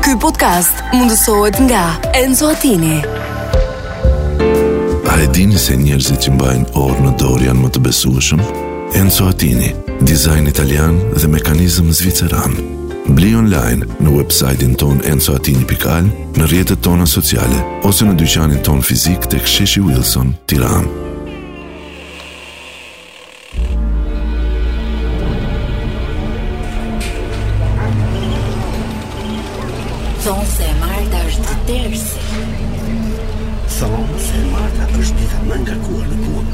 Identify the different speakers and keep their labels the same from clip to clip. Speaker 1: Ky podcast mundësohet nga Enzo Attini.
Speaker 2: A e dini se njerëzit që mbajnë orë në dorë janë më të besueshëm? Enzo Attini, dizajn italian dhe mekanizëm zviceran. Bli online në website-in ton enzoatini.al, në rjetët tona sociale, ose në dyqanin ton fizik të ksheshi Wilson, tiran.
Speaker 3: Thonë se e Marta është të tërsi
Speaker 4: Thonë se Marta është dita më nga kuar në kuar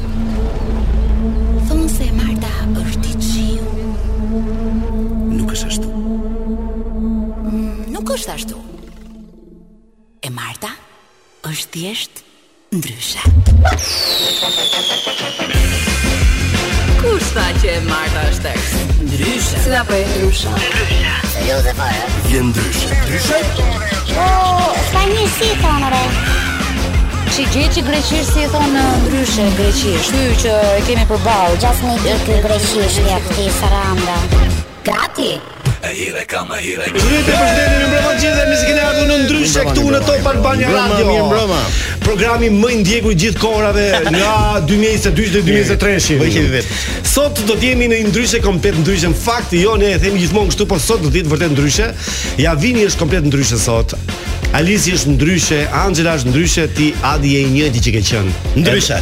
Speaker 3: Thonë se e Marta është i qiu
Speaker 4: Nuk është ashtu
Speaker 3: Nuk është ashtu E Marta është thjesht ndryshe Kush tha që e Marta është tërsi? Ndryshe Cila po e ndryshe?
Speaker 4: Je ndryshe Ndryshe?
Speaker 5: Ka një si thonë re
Speaker 6: Që gjë që greqisht si e thonë ndryshe greqisht. Ky që e kemi përballë.
Speaker 5: Gjas një ditë ky greqisht ja këti saranda
Speaker 3: Gati
Speaker 4: E hire kam e hire
Speaker 7: Mirë e përshëndetje mirë mbrëma të gjithëve, mirë se keni ardhur në ndryshe këtu në Top Albania Radio. Mirë mbrëma. Programi më i ndjekur i gjithë kohërave nga 2022 deri 2023. Bëj kemi vetë. Sot do të jemi në një ndryshe komplet ndryshe. Në fakt jo ne e themi gjithmonë kështu, por sot do të jetë vërtet ndryshe. Ja vini është komplet ndryshe sot. Alisi është ndryshe, Angela është ndryshe, ti Adi je i njëjti që ke qenë. Ndryshe.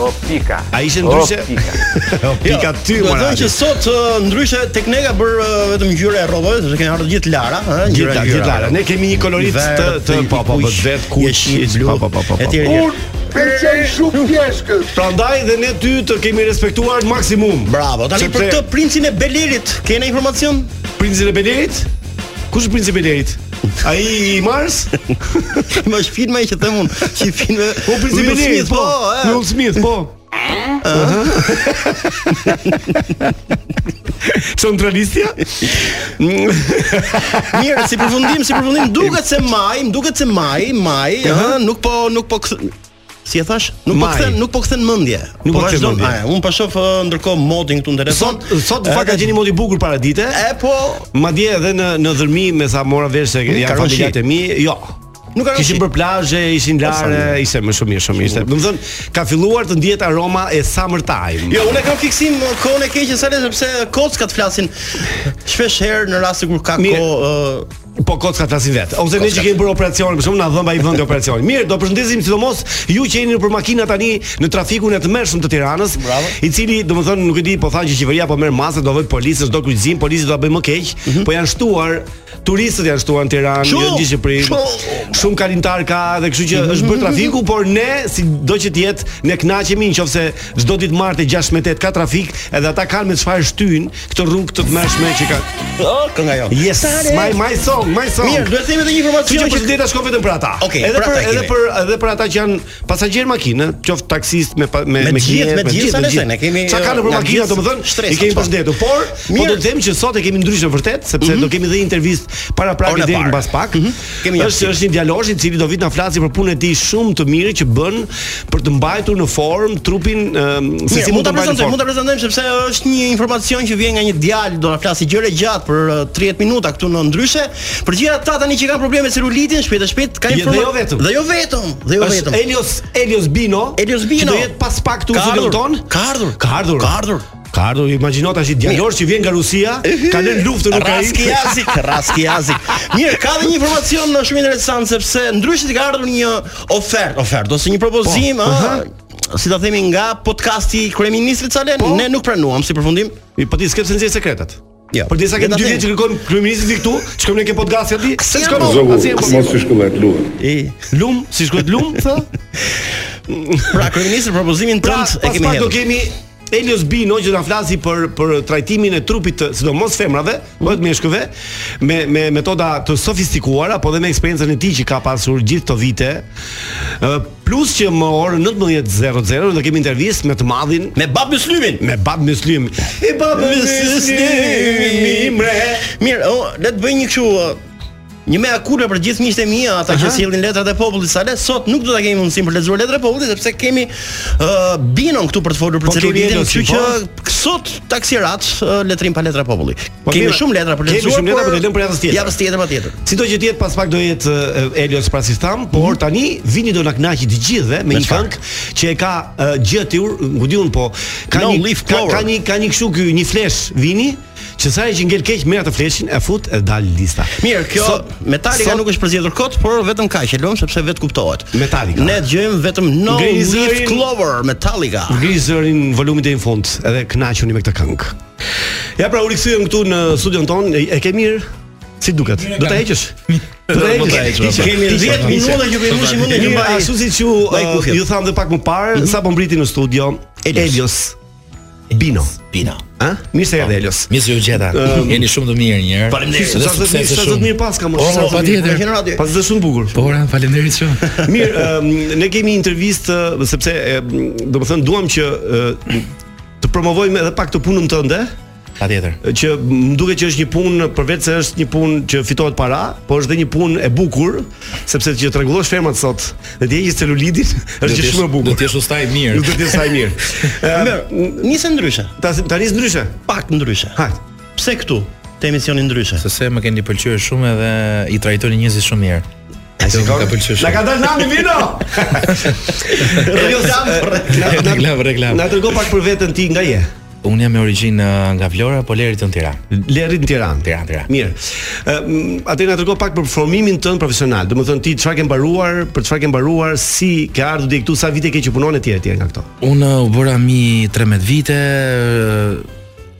Speaker 8: O pika.
Speaker 7: A ishe ndryshe?
Speaker 8: O pika.
Speaker 7: O pika ty
Speaker 9: Do të
Speaker 7: mora.
Speaker 9: thënë që sot ë, ndryshe teknika bër ë, vetëm ngjyra e rrodhave, sepse kanë ardhur gjithë Lara, ëh, ngjyra
Speaker 7: Gjithë gjithë lara. Ne kemi një kolorit të të po po po vet kuq,
Speaker 9: blu,
Speaker 7: po po po.
Speaker 9: etj.
Speaker 7: po. Prandaj dhe ne ty të kemi respektuar maksimum.
Speaker 9: Bravo. Tani
Speaker 7: Sepse
Speaker 9: për këtë princin e Belerit, ke ndonjë informacion?
Speaker 7: princin e Belerit? Kush është princi i Belerit? Ai i Mars?
Speaker 9: Më është filma që them unë, si filme.
Speaker 7: Po princi i
Speaker 9: Will
Speaker 7: Belerit,
Speaker 9: Smith,
Speaker 7: po.
Speaker 9: e.
Speaker 7: Me Will Smith, po. Centralistja?
Speaker 9: Mirë, si përfundim, si përfundim duket se maj, më duket se maj, maj, ëh, nuk po nuk po kthe- Si e thash? Nuk po
Speaker 7: Maj.
Speaker 9: kthen, nuk po kthen mendje.
Speaker 7: Nuk po kthen
Speaker 9: vazhdon-
Speaker 7: mendje.
Speaker 9: Aja, unë po shoh ë, ndërkohë modin këtu në telefon.
Speaker 7: Sot sot në fakt ka
Speaker 9: Edhe-
Speaker 7: gjeni modi i bukur para dite.
Speaker 9: E po,
Speaker 7: Eh. Madje edhe në në dhërmi me sa mora vesh se janë
Speaker 9: karoshi.
Speaker 7: familjarët e mi, jo.
Speaker 9: Nuk karoshi.
Speaker 7: Kishin për plazhe, ishin lare, ishte më shumë mirë, shumë mirë. ishte. Do të thënë, ka filluar të ndihet aroma e summertime.
Speaker 9: Jo, unë e kam fiksim uh, kohën e keqe sa le sepse kockat flasin shpesh herë në rast se kur ka
Speaker 7: Mirë.
Speaker 9: kohë uh,
Speaker 7: Po kocka flasin vet. Ose ne që kemi bërë operacione, për shkakun na dhëmba i vendi operacioni. Mirë, do përshëndesim sidomos ju që jeni nëpër makina tani në trafikun e tmerrshëm të Tiranës,
Speaker 9: Bravo.
Speaker 7: i cili domethënë nuk e di, po thanë që qeveria po merr masë, do vëtë policës, do kryqëzim, polici do ta bëj më keq,
Speaker 9: Mhm.
Speaker 7: po janë shtuar turistët janë shtuar në Tiranë,
Speaker 9: Shumë,
Speaker 7: jo në gjithë Shqipërinë.
Speaker 9: shumë.
Speaker 7: Shumë kalimtar ka dhe kështu që është bërë trafiku, por ne sido që të jetë ne kënaqemi nëse çdo ditë martë 16:08 ka trafik, edhe ata kanë me çfarë shtyn këtë rrugë të tmerrshme që ka.
Speaker 9: ë oh, kënga jo.
Speaker 7: Yes, my my song, my song.
Speaker 9: Mirë, duhet të themi edhe një
Speaker 7: Kështu që
Speaker 9: informacion që
Speaker 7: përshëndeta shkon vetëm për ata.
Speaker 9: Okej,
Speaker 7: edhe
Speaker 9: për
Speaker 7: për
Speaker 9: ata
Speaker 7: edhe
Speaker 9: kemi.
Speaker 7: për edhe për ata që janë pasagjer makinë, qoftë taksist me pa- me
Speaker 9: Me
Speaker 7: me
Speaker 9: gjithë,
Speaker 7: kije,
Speaker 9: me gjithë, sa ne kemi,
Speaker 7: Çka kanë për
Speaker 9: nga
Speaker 7: makina,
Speaker 9: gjithë
Speaker 7: domethënë, i
Speaker 9: shtresa,
Speaker 7: kemi
Speaker 9: po.
Speaker 7: përshëndetur, por po
Speaker 9: Mirë. Mhm.
Speaker 7: do të them që sot e kemi ndryshe vërtet, sepse do kemi dhe intervistë para
Speaker 9: Orën
Speaker 7: prakë
Speaker 9: e
Speaker 7: deri
Speaker 9: parë. Mhm.
Speaker 7: mbas pak.
Speaker 9: Kemi një
Speaker 7: Është është një djalosh i cili do vit na flasi për punën e tij shumë të mirë që bën për të mbajtur në formë trupin ëm, se
Speaker 9: Mirë,
Speaker 7: si
Speaker 9: mund ta
Speaker 7: të mbajë në
Speaker 9: prezantojmë,
Speaker 7: formë.
Speaker 9: mund ta prezantojmë sepse është një informacion që vjen nga një djalë, do na flasi gjëre gjatë për uh, 30 minuta këtu në ndryshe. Për gjithë ata tani që kanë probleme me celulitin, shpejt e shpejt kanë
Speaker 7: Je- dhe
Speaker 9: informa-
Speaker 7: jo vetëm.
Speaker 9: Dhe jo vetëm, dhe jo
Speaker 7: Është
Speaker 9: vetëm.
Speaker 7: Elios Elios Bino.
Speaker 9: Elios
Speaker 7: që
Speaker 9: Bino.
Speaker 7: do jetë pas pak këtu në
Speaker 9: Ka
Speaker 7: studion
Speaker 9: ardhur,
Speaker 7: ton.
Speaker 9: ka ardhur,
Speaker 7: Ka ardhur.
Speaker 9: ka ardhur.
Speaker 7: Ka ardhur, imagjino tash i djalor që vjen nga Rusia, ka lënë luftën në
Speaker 9: Pra, Raski
Speaker 7: Ukrainë.
Speaker 9: Jazik, Raski Jazik. Mirë, ka dhe një informacion uh, shumë interesant sepse ndryshe ti ka ardhur një ofertë, ofertë ose një propozim,
Speaker 7: Po, aha.
Speaker 9: ë, si ta themi nga podcasti i kryeministrit Salen,
Speaker 7: Po.
Speaker 9: ne nuk pranuam si përfundim.
Speaker 7: I po ti s'ke pse nxjerr sekretet.
Speaker 9: Jo.
Speaker 7: Për disa
Speaker 9: Le
Speaker 7: kemi
Speaker 9: ta
Speaker 7: dy
Speaker 9: them.
Speaker 7: vjet që kërkojmë kryeministin këtu, shkojmë ne ke podcast aty, se
Speaker 9: janë
Speaker 7: shkojmë
Speaker 9: mo?
Speaker 7: Zogu, mos i
Speaker 9: E,
Speaker 7: lum, si shkruhet lum, thë.
Speaker 9: pra kryeministri propozimin
Speaker 7: Pra,
Speaker 9: tënd e
Speaker 7: pas
Speaker 9: kemi
Speaker 7: pak do
Speaker 9: hedhur.
Speaker 7: kemi Elios Bino që do na flasi për për trajtimin e trupit të sidomos femrave, bëhet meshkëve me me metoda të sofistikuara, po dhe me eksperiencën e tij që ka pasur gjithë këto vite. Ë, Plus që më orën 19:00 do kemi intervistë me të madhin
Speaker 9: Me Bab Myslimin.
Speaker 7: me bab muslim. E bab
Speaker 9: Mirë, o, le të bëj një kështu uh, Një mea kurrë për gjithë miqtë e mi, ata që sjellin letrat e popullit sa le, sot nuk do ta kemi mundësinë për të lexuar letrat e popullit sepse kemi uh, binon këtu për të folur për
Speaker 7: Po, kemi
Speaker 9: celulitin,
Speaker 7: Elocin,
Speaker 9: kështu që sot taksirat uh, letrim pa letra e popullit.
Speaker 7: Po,
Speaker 9: Kemi
Speaker 7: mirë,
Speaker 9: shumë letra për të
Speaker 7: kemi
Speaker 9: lexuar.
Speaker 7: shumë letra,
Speaker 9: por
Speaker 7: po të lëmë për javës tjetër.
Speaker 9: Javës tjetër patjetër.
Speaker 7: Sido që tjetë pas pak do jetë e, Elios Prasistam, por tani vini do na kënaqi të gjithëve
Speaker 9: Mhm.
Speaker 7: me,
Speaker 9: Me
Speaker 7: një
Speaker 9: çfarë?
Speaker 7: këngë që e ka e, gjëtiur, ngudiun po ka
Speaker 9: No
Speaker 7: një
Speaker 9: leaf
Speaker 7: ka,
Speaker 9: clover.
Speaker 7: ka një ka një kështu ky një flesh vini që sa e që ngel keq merr atë fleshin e fut e dal lista.
Speaker 9: Mirë, kjo Metallica nuk është përzgjedhur kot, por vetëm kaq e lëm sepse vetë kuptohet.
Speaker 7: Metallica.
Speaker 9: Ne dëgjojmë vetëm No
Speaker 7: Ngrihi
Speaker 9: Leaf
Speaker 7: zërin-
Speaker 9: Clover Metallica.
Speaker 7: Grizërin volumin deri në fund edhe kënaquni me këtë këngë. Ja pra u rikthyem këtu në studion ton, e, e ke mirë? Si duket? Do ta heqësh? Do ta
Speaker 9: mund ta
Speaker 7: heqësh.
Speaker 9: heqë,
Speaker 7: Hiqe,
Speaker 9: po.
Speaker 7: Kemi 10 minuta që kemi mushi mundin
Speaker 9: Mirë,
Speaker 7: që mbaj.
Speaker 9: ashtu
Speaker 7: Ashtu siç ju
Speaker 9: mbaj
Speaker 7: uh,
Speaker 9: kufjet.
Speaker 7: ju tham edhe pak më parë, sa po mbriti në studio
Speaker 8: Elios.
Speaker 7: Elios Po. Bino.
Speaker 8: Pina.
Speaker 7: Ë? Mirë se erdhe Elios.
Speaker 8: Mirë se ju gjeta. Jeni shumë të mirë një herë.
Speaker 7: Faleminderit. Sa të mirë, sa të mirë pas ka më.
Speaker 8: Po,
Speaker 7: sa të mirë.
Speaker 8: patjetër.
Speaker 9: Në radio.
Speaker 7: Pas dhe shumë bukur.
Speaker 8: Ora, faleminderit shumë.
Speaker 7: Mirë, ëm, ne kemi intervistë ë, sepse domethënë duam që ë, të promovojmë edhe pak të punën tënde,
Speaker 8: Patjetër.
Speaker 7: që më duket që është një punë përveç se është një punë që fitohet para, por është dhe një punë e bukur, sepse që rregullosh fermat sot dhe të heqësh celulitin është gjë shumë e
Speaker 8: Do të
Speaker 7: bukur.
Speaker 8: jesh ustaj i mirë.
Speaker 7: Nuk do të jetë sa e mirë. Ë,
Speaker 9: Nisë ndryshe,
Speaker 7: Ta tani nis ndryshe.
Speaker 9: pak ndryshe.
Speaker 7: Hajt.
Speaker 9: Pse këtu? Te emisioni ndryshe.
Speaker 8: Sepse më keni pëlqyer shumë edhe i trajtoni njerëzit shumë mirë. Ai
Speaker 7: Shikon?
Speaker 8: ka pëlqyer
Speaker 7: Na ka
Speaker 8: shumë.
Speaker 7: dalë nami jo vino. Elios, na- na-
Speaker 8: Reklam, reklam.
Speaker 7: Na tërgo pak për veten ti nga je.
Speaker 8: Unë jam me origjinë ë, nga Vlora, po lerit në Tiranë.
Speaker 7: Lerit në Tiranë.
Speaker 8: Tiranë, Tiranë.
Speaker 7: Mirë. Ëm atë na tregoj pak për formimin tënd profesional. Domethënë ti çfarë ke mbaruar, për çfarë ke mbaruar, si ke ardhur deri këtu, sa vite ke që punon etj etj nga këto.
Speaker 8: Unë eh, u bëra mi 13 vite. ë,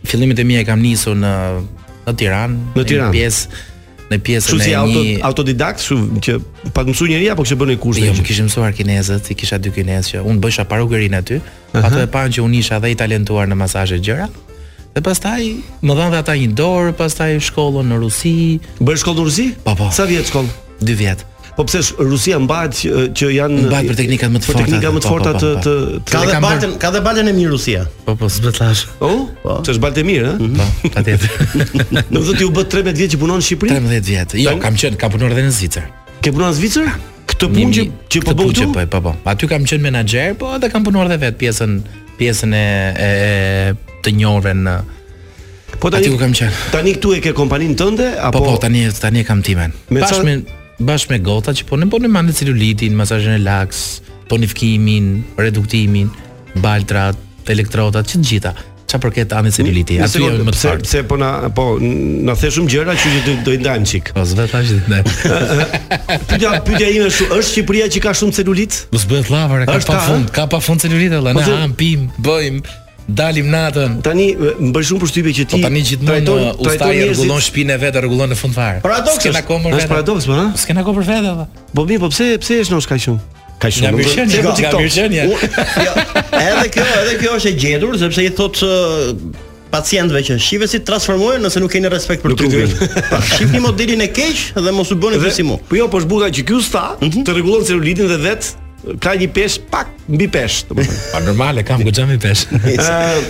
Speaker 8: Fillimet e mia e kam nisur në në Tiranë,
Speaker 7: Në Tiranë.
Speaker 8: Në pjesë në
Speaker 7: Kështu
Speaker 8: pjesën e
Speaker 7: si auto,
Speaker 8: një
Speaker 7: autodidakt, kështu që pa të mësuar njëri apo kishte bërë një kurs
Speaker 8: Jo, më
Speaker 7: gjë?
Speaker 8: kishim mësuar kinezët, i kisha dy kinezë që unë bësha parugerin aty. Ato e panë që unë isha dhe i talentuar në masazhe gjëra. Dhe pastaj më dhanë dhe ata një dorë, pastaj shkollën në Rusi,
Speaker 7: Bërë shkollë në Rusi?
Speaker 8: Po, po.
Speaker 7: Sa vjet shkollë?
Speaker 8: 2 vjet.
Speaker 7: Po pse sh- Rusia mbahet që, që janë
Speaker 8: Mbahet për teknikat më të
Speaker 7: për
Speaker 8: forta,
Speaker 7: teknika më të
Speaker 8: po, po,
Speaker 7: forta
Speaker 8: po,
Speaker 7: të
Speaker 8: po.
Speaker 7: të
Speaker 9: Ka
Speaker 8: Dhe
Speaker 9: dhe
Speaker 8: kam bërë-
Speaker 9: baltën, ka dhe baltën e mirë Rusia.
Speaker 8: Po po, s'bëllash.
Speaker 7: Oh? Ç'është baltë mirë, ë?
Speaker 8: Po, patjetër.
Speaker 7: Do të thotë ju bë 13 vjet që punon në Shqipëri?
Speaker 8: 13 vjet. Jo, kam qenë, kam punuar edhe në Zvicër.
Speaker 7: Ke punuar në Zvicër? Këtë
Speaker 8: Një-
Speaker 7: punë që
Speaker 8: një-
Speaker 7: që po
Speaker 8: këtë
Speaker 7: bën
Speaker 8: punë që
Speaker 7: këtu?
Speaker 8: Po, po, po. Aty kam qenë menaxher, po edhe kam punuar edhe vet pjesën pjesën e, e e të njohurën në
Speaker 7: Po
Speaker 8: aty ku kam qenë.
Speaker 7: Tani këtu e ke kompaninë tënde
Speaker 8: Po
Speaker 7: apo
Speaker 8: po, tani tani e kam timen.
Speaker 7: Me
Speaker 8: Bashkë
Speaker 7: ca-
Speaker 8: me bashkë me gota që punë, po në mande celulitin, masazhin e laks, tonifikimin, reduktimin, baltrat, elektrodat, që të gjitha. Çfarë përket anticeluliti?
Speaker 7: Një
Speaker 8: Aty
Speaker 7: sekundë,
Speaker 8: janë më të
Speaker 7: pse
Speaker 8: fortë.
Speaker 7: pse po na po na the shumë gjëra që do do i ndajmë çik.
Speaker 8: Po s'bëhet tash ditë.
Speaker 7: Pyetja pyetja ime është është Shqipëria që ka shumë celulit?
Speaker 8: Mos bëhet llavër, ka
Speaker 7: Është
Speaker 8: pa
Speaker 7: ka,
Speaker 8: fund, ka pa fund celulit valla.
Speaker 7: Po,
Speaker 8: Na
Speaker 7: se-
Speaker 8: ham, pim, bëjmë, dalim natën.
Speaker 7: Tani më bën shumë përshtypje që ti
Speaker 8: Po tani gjithmonë uh,
Speaker 7: trajton- trajton
Speaker 8: ustaji
Speaker 7: njerëzit-
Speaker 8: rregullon shtëpinë e vet, e rregullon në fund fare.
Speaker 7: Paradoks
Speaker 8: S'kena
Speaker 7: është.
Speaker 8: kohë për
Speaker 7: Është
Speaker 8: veten.
Speaker 7: paradoks, po, ha?
Speaker 8: S'kena kohë për veten. valla.
Speaker 7: Po mirë, po pse pse është nosh kaq shumë? Kaq
Speaker 8: Nga Mirçenia,
Speaker 7: Pse po
Speaker 8: nga
Speaker 7: TikTok?
Speaker 8: Mirçenia.
Speaker 9: U- jo, edhe kjo, edhe kjo është e gjetur sepse i thot ë, pacientëve që shive si transformohen nëse nuk keni respekt për
Speaker 7: Nuk i
Speaker 9: trupin.
Speaker 7: duhet.
Speaker 9: Pa, shihni modelin e keq dhe mos u bëni
Speaker 7: Dhe- Mhm.
Speaker 9: kjo si mu.
Speaker 7: Po jo, po është buka që ky usta të rregullon celulitin dhe vet ka një pesh pak mbi pesh, domethënë.
Speaker 8: Pa normale, kam goxha mi pesh.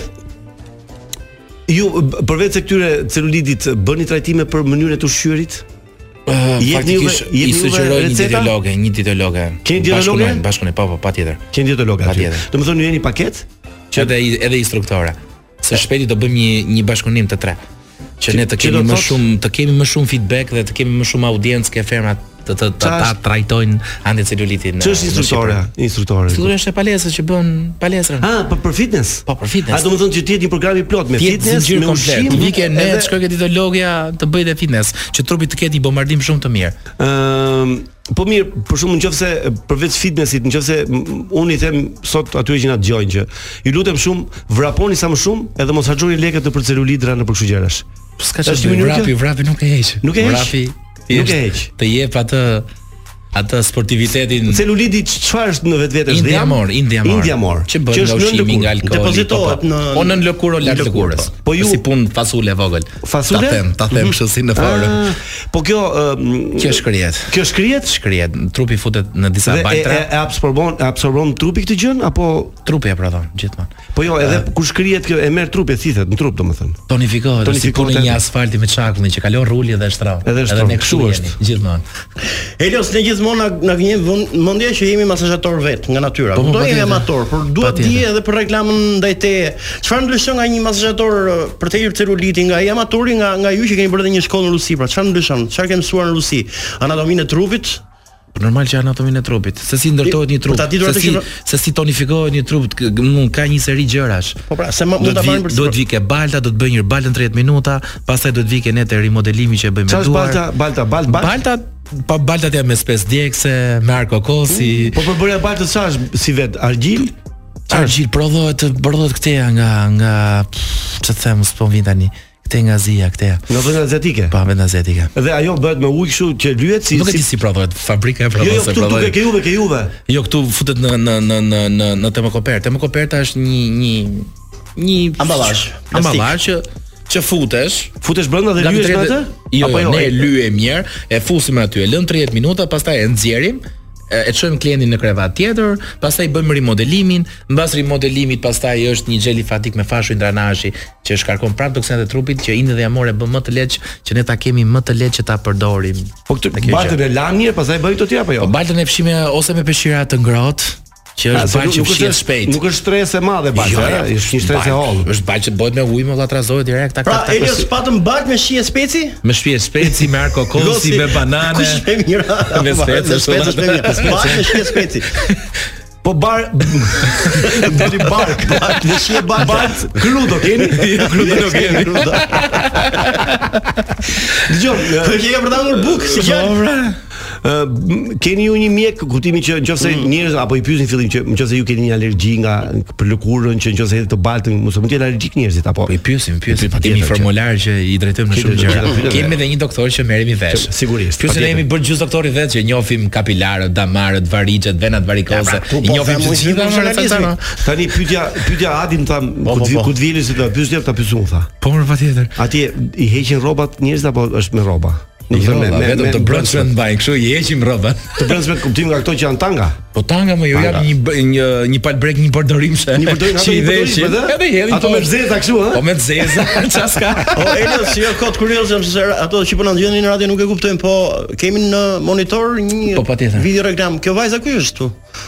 Speaker 7: Ju b- përveç se këtyre celulitit bëni trajtime për mënyrën e ushqyerit? jepni juve-
Speaker 8: Faktikisht
Speaker 7: jepni
Speaker 8: i
Speaker 7: juve
Speaker 8: sugjeroj një
Speaker 7: receta?
Speaker 8: dietologe, një dietologe.
Speaker 7: Keni dietologe?
Speaker 8: Bashkunojnë, Bashkunojnë, po po, patjetër.
Speaker 7: Qenë dietolog aty.
Speaker 8: Patjetër.
Speaker 7: Domethënë ju jeni paketë
Speaker 8: Që edhe i- edhe instruktore. Së shpejti do bëjmë një një bashkëpunim të tre. Që ne të
Speaker 7: që do
Speaker 8: kemi më
Speaker 7: thot-
Speaker 8: shumë, të kemi më shumë feedback dhe të kemi më shumë audiencë ke fermat të të të
Speaker 7: Qa
Speaker 8: ta
Speaker 7: është-
Speaker 8: trajtojnë anticelulitin.
Speaker 7: Që është instruktore? Instruktore.
Speaker 8: Instruktore është e palesës që bën palestrën.
Speaker 7: Ah, për për fitness.
Speaker 8: Po, për fitness.
Speaker 7: A do të thonë që ti je një program i plot me
Speaker 8: Tjetë
Speaker 7: fitness,
Speaker 8: zinxhir
Speaker 7: me
Speaker 8: komplet.
Speaker 7: ushqim,
Speaker 8: Vike ne
Speaker 7: edhe-
Speaker 8: të shkoj ke dietologja të bëj dhe fitness, që trupi të ketë i bombardim shumë të mirë.
Speaker 7: Ëm, po mirë, për shkakun nëse përveç fitnessit, nëse unë i them sot atyre që na dëgjojnë që ju lutem shumë vraponi sa më shumë edhe mos haxhoni lekët në për celulitra në për kështu gjërash.
Speaker 8: Po s'ka
Speaker 7: Është
Speaker 8: çfarë
Speaker 7: një mënyrë
Speaker 8: vrapi, vrapi nuk e heq.
Speaker 7: Nuk e heq?
Speaker 8: Vrapi
Speaker 7: Nuk e
Speaker 8: thjesht
Speaker 7: heq?
Speaker 8: Të jep atë atë sportivitetin
Speaker 7: Celuliti çfarë është në vetvete është
Speaker 8: indiamor, indiamor.
Speaker 7: Indiamor,
Speaker 8: që bëhet nga ushqimi nga alkooli. po,
Speaker 7: Depozitohet
Speaker 8: po.
Speaker 7: në
Speaker 8: po në lëkurë o lart
Speaker 7: lëkurë,
Speaker 8: lëkurës.
Speaker 7: po. Po ju-
Speaker 8: si pun fasule e vogël.
Speaker 7: Fasule? Mhm.
Speaker 8: Ta them, ta them kështu si në forë.
Speaker 7: Ah, Po kjo ë,
Speaker 8: Kjo shkrihet.
Speaker 7: kjo shkrihet
Speaker 8: Shkrihet, trupi futet në disa
Speaker 7: dhe e, e,
Speaker 8: baltra,
Speaker 7: e absorbon e absorbon trupi këtë gjën apo
Speaker 8: trupi e prodhon gjithmonë.
Speaker 7: po jo, edhe kur shkrihet kjo e merr trupi e thithet në trup domethënë.
Speaker 8: Tonifikohet,
Speaker 7: Tonifikohet
Speaker 8: si puni
Speaker 7: edhe.
Speaker 8: një asfalti me çakullin që kalon ruli dhe shtrau.
Speaker 7: Edhe shtrau,
Speaker 8: ne
Speaker 7: kështu
Speaker 8: kështu
Speaker 7: është.
Speaker 8: jemi gjithmonë.
Speaker 9: Helios ne gjithmonë na na gjen vënd- mendja që jemi masazhator vet nga natyra.
Speaker 8: Po, po,
Speaker 9: Do jemi
Speaker 8: patjetër.
Speaker 9: amator, por duhet
Speaker 8: Patjetër.
Speaker 9: di edhe për reklamën ndaj teje. Çfarë ndryshon nga një masazhator eh, për të hequr celulitin, nga ai amatori, nga nga ju që keni bërë edhe një shkollë në Rusi, pra çfarë ndryshon? Çfarë ke mësuar në Rusi? Anatominë e trupit?
Speaker 8: Po normal që anatominë e trupit, se si ndërtohet një
Speaker 9: Për
Speaker 7: Po
Speaker 8: trup,
Speaker 9: ta ditur
Speaker 8: se
Speaker 9: atë
Speaker 8: si
Speaker 9: që-
Speaker 8: se si tonifikohet një trup, k- k- mund ka një seri gjërash.
Speaker 9: Po pra, se ma-
Speaker 8: Do
Speaker 9: mund ta
Speaker 8: të vi,
Speaker 9: marrim për
Speaker 8: do të vi ke balta, do të bëj një baltë në 30 minuta, pastaj do të vi ke ne te remodelimi që e bëjmë me
Speaker 7: Çfarë është
Speaker 8: duar.
Speaker 7: balta, balta, balt, balt.
Speaker 8: Balta, pa baltat janë me spes djegse, me arkokosi,
Speaker 7: Po përbërja baltë sa është si vet argjil?
Speaker 8: Argjil prodhohet prodhohet ktheja nga nga ç'të them, s'po më vjen tani. Kte nga Azia, kte.
Speaker 7: Në vend azatike.
Speaker 8: Pa vend azjatika.
Speaker 7: Dhe ajo bëhet me ujë kështu që lyhet si
Speaker 8: Nuk e di
Speaker 7: si
Speaker 8: si prodhohet, fabrika e
Speaker 7: Jo,
Speaker 8: prodhon
Speaker 7: jo,
Speaker 8: se
Speaker 7: këtu duke
Speaker 8: prodhohet.
Speaker 7: ke juve, ke juve.
Speaker 8: Jo, këtu futet në në në në në në termokopertë. Termokoperta është një një një
Speaker 9: Amballazh, plastik.
Speaker 8: Amballazh që që futesh
Speaker 7: Futesh brenda dhe
Speaker 8: nga
Speaker 7: lyhesh me
Speaker 8: 30
Speaker 7: atë?
Speaker 8: Jo,
Speaker 7: Apo
Speaker 8: jo, ne
Speaker 7: e-
Speaker 8: e lyejmë mirë, e fusim aty, e lëm 30 minuta, pastaj e nxjerrim, e e çojmë klientin në krevat tjetër, pastaj bëjmë rimodelimin, mbas rimodelimit pastaj është një gjeli fatik me fashu indranashi që shkarkon prapë toksinat e trupit që inde dhe jamore bën më të lehtë që ne ta kemi më të lehtë që ta përdorim.
Speaker 7: Po këtë
Speaker 8: Dhe kjo gjë.
Speaker 7: baltën e lan mirë, pastaj bëj këto ti apo
Speaker 8: Po
Speaker 7: jo?
Speaker 8: baltën e pshime ose me peshqira të ngrohtë, që
Speaker 7: Ah,
Speaker 8: është
Speaker 7: se
Speaker 8: baltë që fshihet shpejt.
Speaker 7: Nuk është stres e madhe balta,
Speaker 8: Jo,
Speaker 7: ja,
Speaker 8: jo,
Speaker 7: është një stres e
Speaker 8: baltë.
Speaker 7: hollë.
Speaker 8: Është baltë që bëhet me ujë, me llatrazohet direkt tak
Speaker 9: Pra
Speaker 8: tak tak.
Speaker 9: Helios
Speaker 8: pas-
Speaker 9: patëm balt me shi e speci?
Speaker 8: Me shpije speci, me arkokosi,
Speaker 9: Gosi,
Speaker 8: me banane.
Speaker 9: Kush më mirë?
Speaker 8: Me specë,
Speaker 9: me specë është më mirë.
Speaker 8: me specë.
Speaker 9: Balt me shi e speci.
Speaker 7: Po bar deri bar,
Speaker 9: Balt me shi e balt.
Speaker 7: kru do keni?
Speaker 8: Jo,
Speaker 7: Kru do keni. Dgjoj,
Speaker 9: Po që jam përdorur buk, si gjë.
Speaker 7: keni ju një mjek kuptimi që nëse
Speaker 8: Mm.
Speaker 7: njerëz apo i pyesin fillim që nëse ju keni një alergji nga për lëkurën që nëse hedhë të baltën, mos mund të jenë alergjik njerëzit apo
Speaker 8: Po i pyesim, pyesim,
Speaker 7: Po, patjetër
Speaker 8: kemi
Speaker 7: që-
Speaker 8: formular që i drejtojmë në
Speaker 7: Kemi
Speaker 8: shumë
Speaker 7: të gjitha
Speaker 8: gjëra.
Speaker 7: pyetjeve.
Speaker 8: Kemi edhe një doktor që merremi vesh.
Speaker 7: Që- sigurisht,
Speaker 8: Pyesim ne
Speaker 7: patjetër.
Speaker 8: jemi bërë gjys doktori vetë që njohim kapilarët, damarët, varigjet, venat varikose.
Speaker 9: Ja, pra, tu
Speaker 8: I
Speaker 9: po,
Speaker 8: njohim
Speaker 9: thamë,
Speaker 8: të
Speaker 9: unë
Speaker 8: gjitha
Speaker 9: vetëm
Speaker 8: më
Speaker 9: personalizmi.
Speaker 7: Tani pyetja pyetja Adin tham ku të vi-
Speaker 8: po.
Speaker 7: ku të vjeli si ta pyes ta pyes unë tha.
Speaker 8: Po më patjetër.
Speaker 7: Atje i heqin rrobat njerëzit apo është me rroba? Do të
Speaker 8: Jo,
Speaker 7: thënë, me- me-
Speaker 8: vetëm
Speaker 7: me-
Speaker 8: të brëndshme të mbajnë, kështu i heqim rrobat.
Speaker 7: Të brendshme kuptim nga ato që janë tanga.
Speaker 8: Po tanga më ju jap
Speaker 7: Tanga.
Speaker 8: një bë- një një pal break një përdorim se.
Speaker 7: Një përdorim ato
Speaker 8: që i
Speaker 7: një
Speaker 8: dheshin.
Speaker 7: përdorim, po, dhe?
Speaker 8: Edhe i hedhin
Speaker 7: Ato
Speaker 8: po-
Speaker 7: me zeza kështu, ha?
Speaker 8: Po me zeza, çfarë s'ka.
Speaker 9: O Elios, jo kot kurioz jam se ato që po na ndjenin në radio nuk e kuptojnë, po kemi në monitor një
Speaker 8: Po, patjetër.
Speaker 9: video reklam. Kjo vajza ku është tu?
Speaker 7: Po,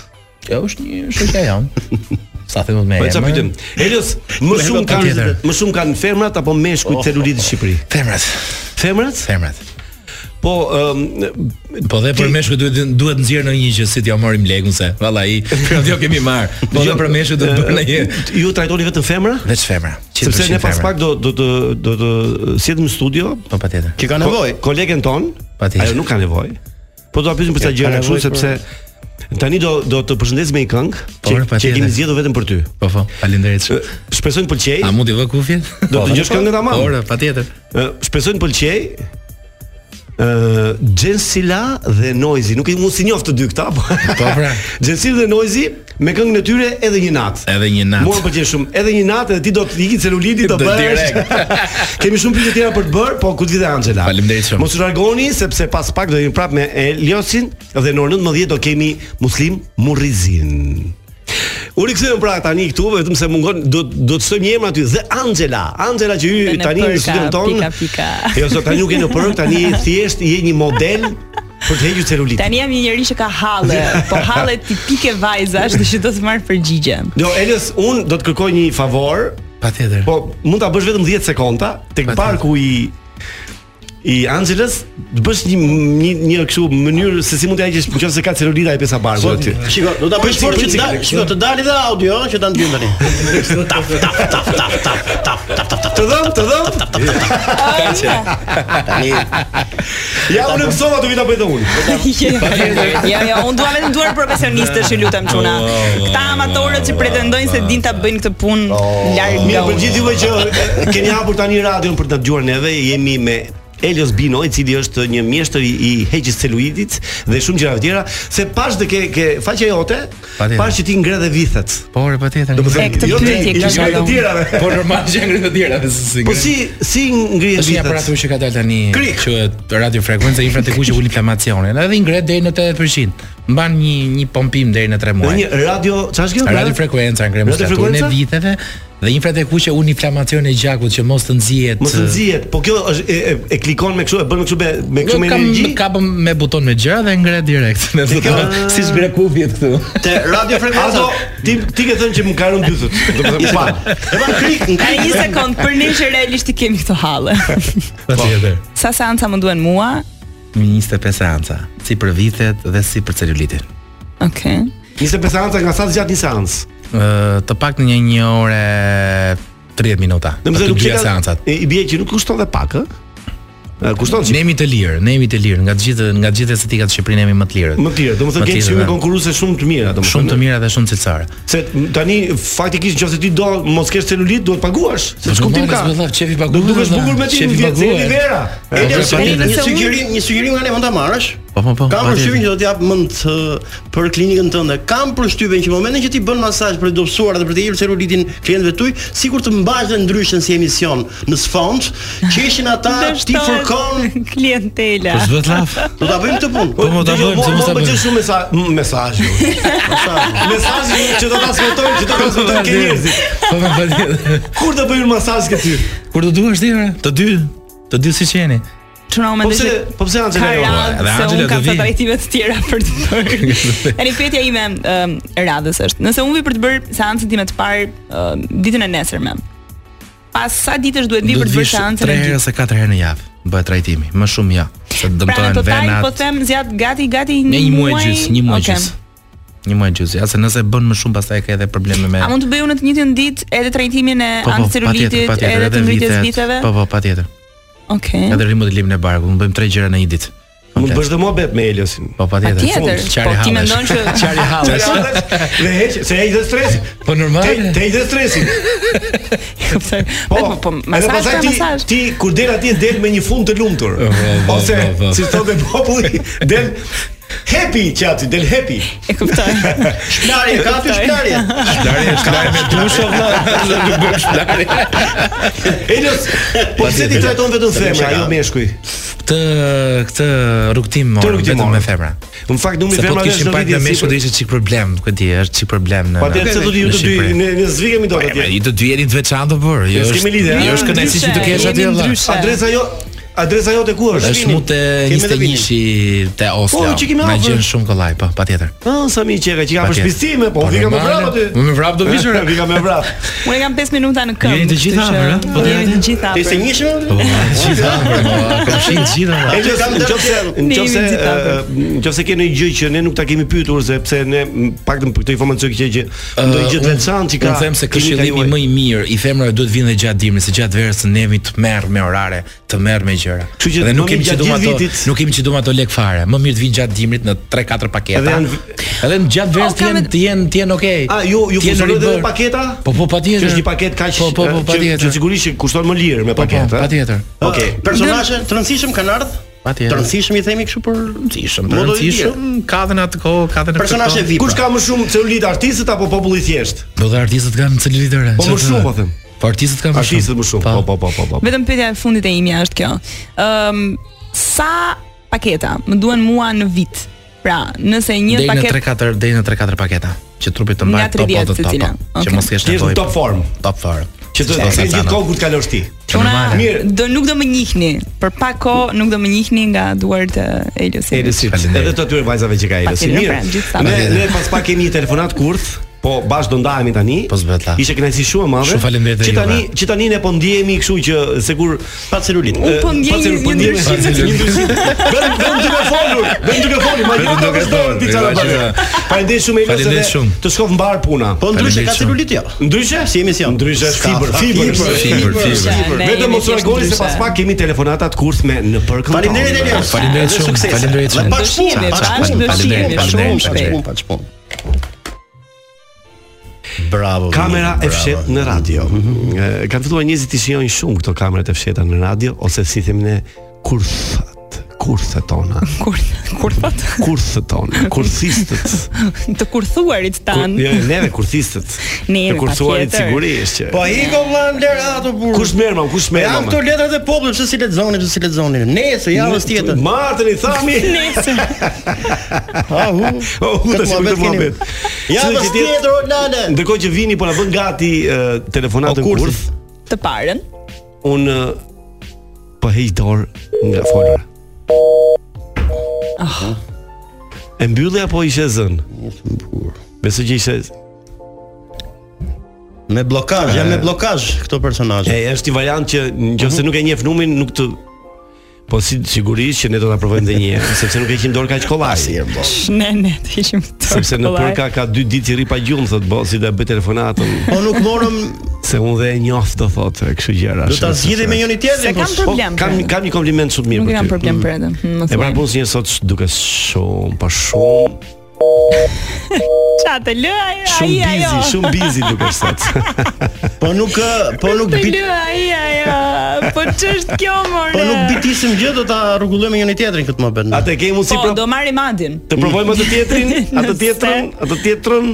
Speaker 8: Kjo është një shoqja jam. Sa them me.
Speaker 7: Po ça pyetëm. Helios, më
Speaker 8: Me
Speaker 7: shumë
Speaker 8: rrobat
Speaker 7: kanë
Speaker 8: tjetër.
Speaker 7: më shumë kanë femrat apo meshkujt celulit në Shqipëri?
Speaker 8: Femrat,
Speaker 7: Femrat?
Speaker 8: femrat.
Speaker 7: Po ëm,
Speaker 8: Po dhe për meshkë duhet duhet nxjerr në një gjë si t'ja morim lekun se vallahi prandaj jo kemi marr. Po
Speaker 7: Jo,
Speaker 8: dhe për meshkë do të bën një
Speaker 7: ju trajtoni vetëm femra?
Speaker 8: veç femra. 100%
Speaker 7: Sepse ne pas
Speaker 8: femra.
Speaker 7: pak do do të do të sjellim në studio
Speaker 8: po patjetër.
Speaker 9: Që ka nevojë.
Speaker 7: ko- kolegen ton,
Speaker 8: Patjetër.
Speaker 7: ajo nuk ka nevojë. Po do ta pyesim për sa
Speaker 9: ka
Speaker 7: gjëra kështu
Speaker 9: nevojë për-
Speaker 7: sepse tani do do të përshëndes me një këngë
Speaker 8: Po,
Speaker 7: që, që
Speaker 8: patjetër.
Speaker 7: kemi zgjedhur vetëm për ty.
Speaker 8: Po po, faleminderit shumë.
Speaker 7: Shpresoj të pëlqej.
Speaker 8: A mund t'i vë kufjen?
Speaker 7: Do të dëgjosh këngën tamam.
Speaker 8: Ora, patjetër.
Speaker 7: Ë, Shpresoj të pëlqej. Ë Jensila dhe Noizi, nuk e mund si njoft të dy këta, po.
Speaker 8: Po, pra.
Speaker 7: Jensila dhe Noizi me këngën e tyre edhe një natë.
Speaker 8: Edhe një natë.
Speaker 7: Mua më pëlqen shumë. Edhe një natë edhe ti do të ikin celuliti do
Speaker 8: Do
Speaker 7: bësh.
Speaker 8: direkt.
Speaker 7: Kemi shumë pyetje tjera për të bërë, po ku të vite Angela.
Speaker 8: Faleminderit shumë.
Speaker 7: Mos u largoni sepse pas pak do jemi prapë me Eliosin dhe në orën 19 do kemi Muslim Murrizin. U rikthyem pra tani këtu vetëm se mungon do do të sojmë një emër aty dhe Angela. Angela që hy
Speaker 10: në
Speaker 7: tani në
Speaker 10: përka,
Speaker 7: studion ton.
Speaker 10: pika, pika.
Speaker 7: Jo, sot tani nuk je në përk, tani thjesht je një model për të hequr celulitin.
Speaker 10: Tani jam një njerëz që ka halle, po halle tipike vajzash, kështu që do të marr përgjigje.
Speaker 7: Jo, Elios, un do të kërkoj një favor,
Speaker 8: Patjetër.
Speaker 7: po mund ta bësh vetëm 10 sekonda tek
Speaker 8: Patjetër.
Speaker 7: parku i i Angeles, të bësh një një, një kështu mënyrë se si mund të haqesh nëse ka celulita e pesa barku aty.
Speaker 9: po, Shiko, do ta bëj
Speaker 7: Prit,
Speaker 9: fort që
Speaker 7: prit, prit,
Speaker 9: të dal,
Speaker 7: prit.
Speaker 9: shiko, të dali dhe audio që ta ndjen tani. Tap tap tap tap tap tap tap tap tap.
Speaker 7: Të dhëm, të dhëm.
Speaker 9: Tani
Speaker 7: Ja unë mësova të vi ta bëj dhe unë.
Speaker 10: Jo, jo, unë dua vetëm duar profesionistësh, ju lutem çuna. Këta amatorët që pretendojnë se din ta bëjnë këtë punë larg
Speaker 7: Mirë
Speaker 10: nga
Speaker 7: për
Speaker 10: unë.
Speaker 7: gjithë juve që e, keni hapur tani radion për ta dëgjuar neve, jemi me Elios Bino, i cili është një mjeshtër i, i heqjes celulitit dhe shumë gjëra të tjera, se pash dhe ke ke faqja jote,
Speaker 8: Patjetër.
Speaker 7: pash që ti ngre dhe vithet.
Speaker 8: Po, re patjetër.
Speaker 7: Do të thënë, jo ti, jo ngre të tjerave.
Speaker 8: Po normal që ngrihet të tjerave se si.
Speaker 7: Po si si
Speaker 8: Është
Speaker 7: ngrihet
Speaker 8: një
Speaker 7: vithet?
Speaker 8: aparatur që ka dalë tani,
Speaker 7: Krik.
Speaker 8: quhet radiofrekuenca infratekuqe për inflamacionin. Edhe i ngret deri në 80%. Mban një një pompim deri në 3 muaj.
Speaker 7: Dhe një radio- çfarë është kjo?
Speaker 8: Radiofrekuenca ngre muskulaturën e
Speaker 7: Radiofrekuenca?
Speaker 8: viteve dhe infratekuqe un inflamacion e gjakut që mos të nxihet.
Speaker 7: Mos të nxihet, po kjo është e, e, e klikon me kështu, e bën me kështu me me kështu me
Speaker 8: Jo, Kam-
Speaker 7: energji.
Speaker 8: kapëm me buton me gjëra dhe ngre direkt. Me buton siç ngre kufjet këtu.
Speaker 7: Te radiofrekuenca. Ato ti ti ke thënë që më ka rënë dytët. Do të thënë pa.
Speaker 10: Ka një sekond, për ne që realisht i kemi këto halle.
Speaker 8: Patjetër.
Speaker 10: Sa seanca më duhen mua?
Speaker 8: Me 25 seanca, si për vitet dhe si për celulitin.
Speaker 10: Okej.
Speaker 7: 25 seanca nga sa të gjatë një seancë.
Speaker 8: Ë, të pak në një një ore 30 minuta.
Speaker 7: Do të
Speaker 8: Për
Speaker 7: thënë
Speaker 8: të
Speaker 7: nuk
Speaker 8: gjitha
Speaker 7: ka
Speaker 8: seancat.
Speaker 7: I i bie që nuk kushton dhe pak, ë? Ë, Kushton
Speaker 8: Ne jemi të lirë, ne jemi të lirë nga të gjithë nga të gjithë estetikat në Shqipërinë jemi më të lirë.
Speaker 7: Më të lirë, domethënë kemi shumë konkurruese shumë të mira, domethënë.
Speaker 8: Shumë të mira dhe shumë cilësare.
Speaker 7: Se tani faktikisht nëse ti do mos kesh celulit, duhet paguash, se ç'kuptim ka.
Speaker 8: Do çefi
Speaker 7: Do
Speaker 8: paguhet.
Speaker 7: dukesh bukur me ti
Speaker 8: Qefi
Speaker 7: në vjetë, se
Speaker 8: paguhet.
Speaker 7: jeni vera.
Speaker 8: Po,
Speaker 7: Elias,
Speaker 8: po,
Speaker 7: jeni
Speaker 8: patjetër.
Speaker 9: Një sugjerim, një sugjerim nga ne mund ta marrësh.
Speaker 8: Po, po, po.
Speaker 9: Kam
Speaker 8: patjetër.
Speaker 9: përshtypjen që do t'jap mend ë, për klinikën tënde. Kam përshtypjen që në momentin që ti bën masazh për të dobësuar dhe për të hiqur celulitin klientëve tuj, sikur të mbash dhe ndryshën si emision në sfond, qeshin ata ti fërkon
Speaker 10: klientela.
Speaker 9: Po, s'bëhet laf. Do ta bëjmë këtë punë.
Speaker 7: Po
Speaker 9: mo, ta bëjmë, se mos ta
Speaker 7: bëjmë.
Speaker 9: bëjmë.
Speaker 7: Po shumë mesa m- mesazh. jo. Mesazh jo, që do ta transmetojmë, që do ta transmetojmë ke njerëzit.
Speaker 8: Po po patjetër.
Speaker 7: Kur do bëjmë Po masazh këty?
Speaker 8: Kur do duash ti, ore? Të dy, të dy siç jeni.
Speaker 10: Çuna më
Speaker 7: Po pse po pse Angela jo?
Speaker 8: Dhe Angela
Speaker 10: Edhe Angela
Speaker 8: do
Speaker 10: ka
Speaker 8: vi.
Speaker 10: ca trajtime të tjera për të bërë. Tani pyetja ime um, radhës është, nëse unë vi për të bërë seancën time të parë ëm, ditën e nesërme. Pas sa ditësh duhet vi
Speaker 8: Do
Speaker 10: për të bërë
Speaker 8: vish 3
Speaker 10: seancën e
Speaker 8: herë
Speaker 10: dytë?
Speaker 8: ose 4 herë në javë bëhet trajtimi, më shumë ja, se
Speaker 10: Pra në
Speaker 8: dëmtohen
Speaker 10: total po
Speaker 8: venat.
Speaker 10: them zjat gati gati
Speaker 8: Në
Speaker 10: një
Speaker 8: një muaj
Speaker 10: muaj
Speaker 8: gjys, një muaj
Speaker 10: Okej.
Speaker 8: gjys. Një muaj gjys, ja se nëse bën më shumë pastaj ka edhe probleme me
Speaker 10: A mund të bëj unë të njëjtën ditë edhe trajtimin e
Speaker 8: Po, po, patjetër,
Speaker 10: anticelulitit,
Speaker 8: patjetër,
Speaker 10: edhe të ngritjes
Speaker 8: vitet,
Speaker 10: viteve?
Speaker 8: Po po, patjetër.
Speaker 10: Okej.
Speaker 8: Edhe rimodelimin e barkut, mund bëjmë tre gjëra në një ditë.
Speaker 7: Mund të bësh dhe mohabet me Eliosin.
Speaker 8: Po patjetër.
Speaker 10: Patjetër,
Speaker 8: Fund,
Speaker 10: po,
Speaker 8: qari
Speaker 10: ti
Speaker 8: hallesh.
Speaker 10: mendon që-
Speaker 8: qari hallesh.
Speaker 7: Dhe heq, se heq dhe stresin.
Speaker 8: Po normal.
Speaker 7: Te te heq dhe stresin.
Speaker 10: Kuptoj.
Speaker 7: Po,
Speaker 10: po,
Speaker 7: edhe
Speaker 10: masazh
Speaker 7: pastaj
Speaker 10: ka
Speaker 7: ti
Speaker 10: masazh.
Speaker 7: ti kur del atje del me një fund të lumtur.
Speaker 9: Oh,
Speaker 8: po,
Speaker 7: Ose
Speaker 8: po, po.
Speaker 7: si thotë populli, del happy çati, del happy.
Speaker 10: E kuptoj.
Speaker 9: Shplarje, ka aty shplarje.
Speaker 8: Shplarje, shplarje me dushë vëlla, do të bëjmë shplarje.
Speaker 7: Elios, po pse ti trajton vetëm femra, jo meshkuj?
Speaker 8: Këtë këtë rrugtim
Speaker 7: Të
Speaker 8: more,
Speaker 7: rrugtim
Speaker 8: vetëm
Speaker 7: more.
Speaker 8: me femra.
Speaker 7: Në fakt numri i
Speaker 8: Se po
Speaker 7: femrave
Speaker 8: të kishim
Speaker 7: është
Speaker 8: pak
Speaker 7: rritje
Speaker 8: me meshkuj
Speaker 7: sipër.
Speaker 8: do ishte çik problem, ku di, është çik problem në.
Speaker 7: Po atëherë pse do të ju
Speaker 8: në
Speaker 7: të dy
Speaker 8: Shqipëri.
Speaker 7: ne ne zvigemi dot
Speaker 8: E,
Speaker 7: atje.
Speaker 8: Ju të dy jeni të veçantë por, jo.
Speaker 7: S'kemi
Speaker 8: është-
Speaker 7: lidhje,
Speaker 8: Jo
Speaker 7: a?
Speaker 8: është kënaqësi që të kesh aty vëlla.
Speaker 7: Adresa jo, adresa jote ku është?
Speaker 8: Është mu te 21-shi te Oslo.
Speaker 7: Po, që kemi
Speaker 8: Na
Speaker 7: afër.
Speaker 8: gjen shumë kollaj, po, patjetër.
Speaker 7: Ah, sa mi qeka që ka
Speaker 8: Patjetër.
Speaker 7: përshpistime, po
Speaker 8: Po,
Speaker 7: vika me
Speaker 8: normale.
Speaker 7: vrap aty.
Speaker 8: Po, me vrap do vish, ore.
Speaker 7: Vika me vrap.
Speaker 10: Unë kam 5 minuta në këmbë.
Speaker 8: Jeni të gjithë
Speaker 10: kështu që-
Speaker 8: hapër, ha? Po,
Speaker 10: jeni të gjithë hapër.
Speaker 9: Te njëshëm?
Speaker 8: Po, gjithë hapër, po, kam shitë gjithë.
Speaker 7: E
Speaker 8: hapër.
Speaker 7: që
Speaker 9: kam
Speaker 7: në qofse, në
Speaker 10: Ne jemi
Speaker 7: qofse,
Speaker 10: gjithë afër.
Speaker 7: në qofse eh, ke një gjë që ne nuk ta kemi pyetur sepse ne m, paktën për këtë informacion që që ndonjë gjë të
Speaker 8: Unë-
Speaker 7: veçantë që ka.
Speaker 8: Unë them se
Speaker 7: kemi
Speaker 8: këshillimi
Speaker 7: kaluar.
Speaker 8: më i mirë i femrave duhet vinë dhe gjatë dimrit, se gjatë verës ne jemi të merr me orare, të merr me gjëra.
Speaker 7: Kështu që
Speaker 8: Dhe nuk
Speaker 7: më
Speaker 8: kemi
Speaker 7: mirë
Speaker 8: që
Speaker 7: gjatë
Speaker 8: duam
Speaker 7: gjithë
Speaker 8: ato,
Speaker 7: vitit.
Speaker 8: nuk kemi që duam ato lek fare. Më mirë të vinë gjatë dimrit në 3-4 paketa.
Speaker 7: Edhe
Speaker 8: Edhe,
Speaker 7: janë-
Speaker 8: në gjatë verës të jenë të jenë të jenë okay.
Speaker 7: A ju ju
Speaker 8: të jenë
Speaker 7: funksionojnë edhe
Speaker 8: ribër.
Speaker 7: paketa?
Speaker 8: Po po patjetër.
Speaker 7: Që është një paketë kaq
Speaker 8: Po po po
Speaker 7: eh, që-
Speaker 8: patjetër.
Speaker 7: Që sigurisht që kushton më lirë me
Speaker 8: Po, po,
Speaker 7: paketë. eh?
Speaker 8: patjetër.
Speaker 7: Okej.
Speaker 9: Personazhe të rëndësishëm kanë ardhur? Të
Speaker 8: Patjetër.
Speaker 9: rëndësishëm i themi kështu për rëndësishëm,
Speaker 8: të rëndësishëm, ka dhe në atë kohë, ka dhe në
Speaker 9: Personazhe
Speaker 8: këtë kohë.
Speaker 9: VIP.
Speaker 7: Kush ka më shumë celulit artistët apo populli i thjesht?
Speaker 8: Do dhe artistët kanë celulitore.
Speaker 7: Po më shumë po them.
Speaker 8: Po artistët kanë më
Speaker 7: Artistët më shumë. Po po po po po.
Speaker 10: Vetëm pyetja e fundit e imja është kjo. Ëm sa paketa më duhen mua në vit? Pra, nëse një
Speaker 8: Deri në
Speaker 10: paketë
Speaker 8: 3-4 deri në 3-4 paketa që trupi të mbaj
Speaker 10: Nga
Speaker 8: top
Speaker 10: 30
Speaker 8: top top.
Speaker 10: secila.
Speaker 8: Që
Speaker 10: Okej.
Speaker 8: mos kesh
Speaker 7: Ti je
Speaker 8: nevojë.
Speaker 7: në top form.
Speaker 8: Top form.
Speaker 7: Që do të
Speaker 8: Çfarë
Speaker 7: thënë gjithë
Speaker 8: Santana?
Speaker 7: kohë kur të kalosh ti.
Speaker 10: Çuna,
Speaker 7: Mirë.
Speaker 10: do nuk do më njihni. Për pak kohë nuk do më njihni nga duart e Eliosit.
Speaker 7: Elisit.
Speaker 8: Faleminderit.
Speaker 7: Edhe të atyre vajzave që ka Elisi.
Speaker 10: Patjetër,
Speaker 7: Mirë.
Speaker 10: pra, gjithsa.
Speaker 7: Ne
Speaker 8: Patjetër.
Speaker 7: ne pas pak kemi një telefonat kurth, po bash do ndahemi tani.
Speaker 8: Po s'bëhet la.
Speaker 7: Ishte kënaqësi shumë e madhe.
Speaker 8: Shumë faleminderit
Speaker 7: Që
Speaker 8: edhe
Speaker 7: tani
Speaker 8: juve.
Speaker 7: që tani ne po ndjehemi kështu që eh, se kur
Speaker 9: pa celulit.
Speaker 10: Unë po ndjej një- një ndryshim.
Speaker 7: Një ndryshim. Vetëm vetëm duke folur, vetëm duke folur, ma
Speaker 8: Vetëm
Speaker 7: nuk
Speaker 8: duke
Speaker 7: do të vazhdojmë
Speaker 8: folur,
Speaker 7: ti çfarë
Speaker 8: e
Speaker 7: bëj.
Speaker 8: vazhdojmë.
Speaker 7: Faleminderit shumë Elos
Speaker 8: Faleminderit
Speaker 7: edhe
Speaker 8: shumë.
Speaker 7: Të shkon mbar puna.
Speaker 9: Po ndryshe ka
Speaker 8: Faleminderit shumë.
Speaker 9: celulit jo.
Speaker 7: Ndryshe?
Speaker 9: Si emision.
Speaker 7: Ndryshe është fibër, fibër,
Speaker 9: fibër,
Speaker 8: fibër, fibër.
Speaker 10: Ne
Speaker 7: Vetëm
Speaker 10: jemi
Speaker 7: mos u
Speaker 10: thjesht
Speaker 7: largoni se
Speaker 10: ndryshe.
Speaker 7: pas pak kemi telefonatat kurth me në përkënd.
Speaker 9: Faleminderit Elias.
Speaker 8: Faleminderit
Speaker 9: Dhe
Speaker 8: shumë,
Speaker 9: suksese.
Speaker 8: faleminderit
Speaker 9: Dhe
Speaker 8: shumë.
Speaker 9: pak shpunë,
Speaker 10: Dëshime,
Speaker 9: pak
Speaker 10: pak
Speaker 9: shpunë,
Speaker 10: dëshime,
Speaker 9: faleminderit, pak
Speaker 8: shumë
Speaker 9: shpunë, pak
Speaker 8: shpejt.
Speaker 9: shpunë, pak shpunë. Bravo.
Speaker 7: Kamera
Speaker 9: bravo.
Speaker 7: e
Speaker 9: Mhm.
Speaker 7: fshet në Mhm. radio. Mm Kanë filluar njerëzit të shijojnë shumë këto kamerat e fsheta në radio ose si themi ne kurthat, kurthet tona.
Speaker 10: Kurth, kurthat,
Speaker 7: kurthet tona, kurthistët.
Speaker 10: të kurthuarit tan.
Speaker 7: Kur, jo, neve kurthistët.
Speaker 10: Neve,
Speaker 7: të kurthuarit
Speaker 10: patjetër.
Speaker 7: sigurisht që.
Speaker 9: Po i kom vllai Lerato burr.
Speaker 7: Kush merr mam, kush merr
Speaker 9: Ja
Speaker 7: mam?
Speaker 9: këto letrat e popullit, pse si lexoni, pse si lexoni. Nesër javës tjetër.
Speaker 7: Martën i thami.
Speaker 10: Nesër.
Speaker 9: Ahu.
Speaker 7: Oh,
Speaker 9: Këtë
Speaker 7: tash më
Speaker 9: muhabet
Speaker 7: të
Speaker 9: keni.
Speaker 7: muhabet.
Speaker 9: Javës tjetër o Lale.
Speaker 7: Ndërkohë që vini po na bën gati eh, telefonatën
Speaker 9: O, kurthi.
Speaker 7: kurth,
Speaker 10: Të parën.
Speaker 7: un po hej dorë nga folura.
Speaker 10: Ah.
Speaker 7: E mbylli apo ishe zën? Besoj që ishe
Speaker 9: me bllokazh, janë me bllokazh këto personazhe.
Speaker 7: E është një variant që nëse
Speaker 9: Mhm.
Speaker 7: nuk e njeh numrin nuk të Po si sigurisht që ne do ta provojmë edhe një herë, sepse nuk e heqim dorë kaq kollaj.
Speaker 10: Ne ne të ishim të.
Speaker 7: Sepse në
Speaker 10: kollaj.
Speaker 7: përka ka dy ditë që rri pa gjumë, thot bo, si do e bëj telefonatën.
Speaker 9: Po nuk morëm
Speaker 7: se unë dhe e njoh do thotë kështu gjëra.
Speaker 9: Do ta
Speaker 7: ashtu,
Speaker 9: zgjidhim me
Speaker 7: sepse-
Speaker 9: njëri tjetrin,
Speaker 10: Se po, kam s- problem,
Speaker 7: Po, Kam
Speaker 10: Brenda.
Speaker 7: kam një kompliment shumë mirë
Speaker 10: Nuk
Speaker 7: për ty.
Speaker 10: kam problem për atë. Mos.
Speaker 7: Mm. E pra punës një sot sh- duke shumë, pa shumë,
Speaker 10: Ça të lë ai ai oh.
Speaker 7: shumë
Speaker 10: ajo.
Speaker 7: busy, shumë busy duke sot.
Speaker 9: Po nuk ë, po nuk
Speaker 10: Të
Speaker 9: bit,
Speaker 10: lë ai ajo. Po ç'është kjo more?
Speaker 9: po nuk bitisim gjë, do ta rregullojmë me njëri tjetrin këtë mohabet. ne.
Speaker 7: Atë kemi mundsi
Speaker 10: Po,
Speaker 7: pro
Speaker 10: do marrim Adin.
Speaker 7: pra- të provojmë atë tjetrin, atë
Speaker 10: Nëse-
Speaker 7: tjetrën, atë tjetrën,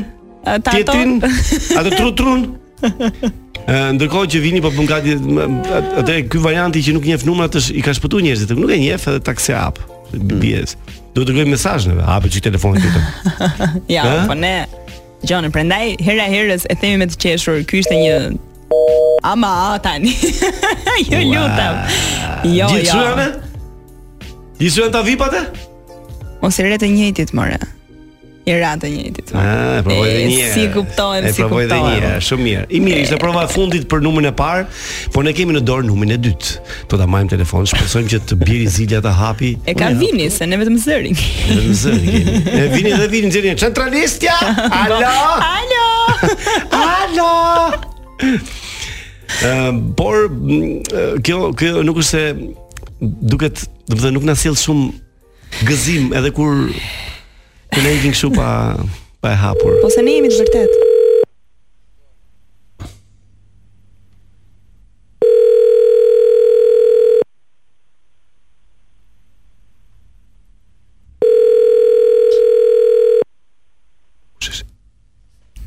Speaker 10: Ata ato.
Speaker 7: tjetrin, atë trutrun. Ë, Ndërkohë që vini po bën gati m- at- atë ky varianti që nuk njeh numrat është i ka shpëtuar njerëzit, nuk e njeh edhe taksi hap. Bjes. Do të gojmë mesazhneve, hapë Mm. çik telefonin këtu.
Speaker 10: Ja,
Speaker 7: Ha?
Speaker 10: po ne. Gjone, prandaj hera herës e themi me të qeshur. Ky ishte një Ama tani. jo lutem. Jo,
Speaker 7: Gjithë
Speaker 10: jo.
Speaker 7: shujane? Gjithë shujane ta vipate?
Speaker 10: Mos i re të njëjtit more. I ra të njëjtit.
Speaker 7: Ah, e provoj edhe
Speaker 10: E,
Speaker 7: një herë.
Speaker 10: si kuptohem,
Speaker 7: E
Speaker 10: si
Speaker 7: provoj edhe
Speaker 10: kuptohem.
Speaker 7: një herë, shumë mirë. I mirë, ishte prova e fundit për numrin e parë, por ne kemi në dorë numrin e dytë. Do ta marrim telefon, shpresojmë që të biri zilja ta hapi.
Speaker 10: E ka vini se ne vetëm zërin.
Speaker 7: Vetëm zëri kemi. E vini dhe vini nxjerrin centralistja. Alo.
Speaker 10: Alo.
Speaker 7: Alo. Ëm, por m, ë, kjo kjo nuk është se duket, do të thënë nuk na sjell shumë gëzim edhe kur kur ne ikim kështu pa pa e hapur.
Speaker 10: Po se ne jemi të vërtet.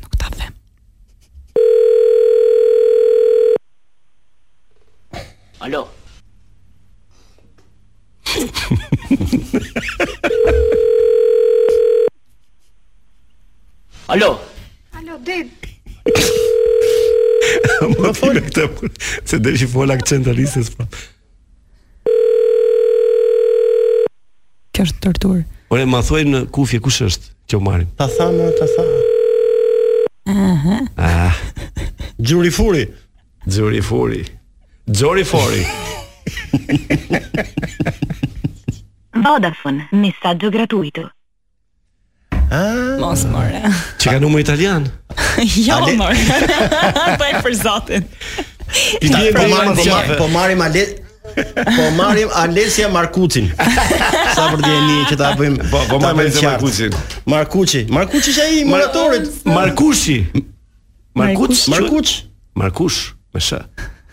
Speaker 10: Nuk ta them.
Speaker 11: Alo. Alo.
Speaker 12: Alo, ded.
Speaker 7: Po fol këtë. Se del që fol akcentalistës pra.
Speaker 10: Kjo është tortur.
Speaker 7: Ore ma thuaj në kufje kush është që u marrim.
Speaker 9: Ta thamë, ta tha.
Speaker 10: Aha.
Speaker 7: Ah,
Speaker 9: Gjuri furi.
Speaker 7: Xhori Fori. Xhori Fori.
Speaker 13: Vodafone, messaggio gratuito.
Speaker 10: Mos more.
Speaker 7: Që ka numër italian.
Speaker 10: jo more. Po e për zotin.
Speaker 9: Po
Speaker 10: Ta
Speaker 9: marrim- po
Speaker 10: provojmë
Speaker 9: marrim-
Speaker 10: një herë.
Speaker 9: po marrim Ale Po marrim Alesia Markucin. Sa për dieni që ta bëjmë. Po
Speaker 7: po marrim Alesia Markucin.
Speaker 9: Markuçi, Markuçi është ai i moderatorit.
Speaker 7: Markushi. Markuç.
Speaker 9: Markuç.
Speaker 7: Markush me sh.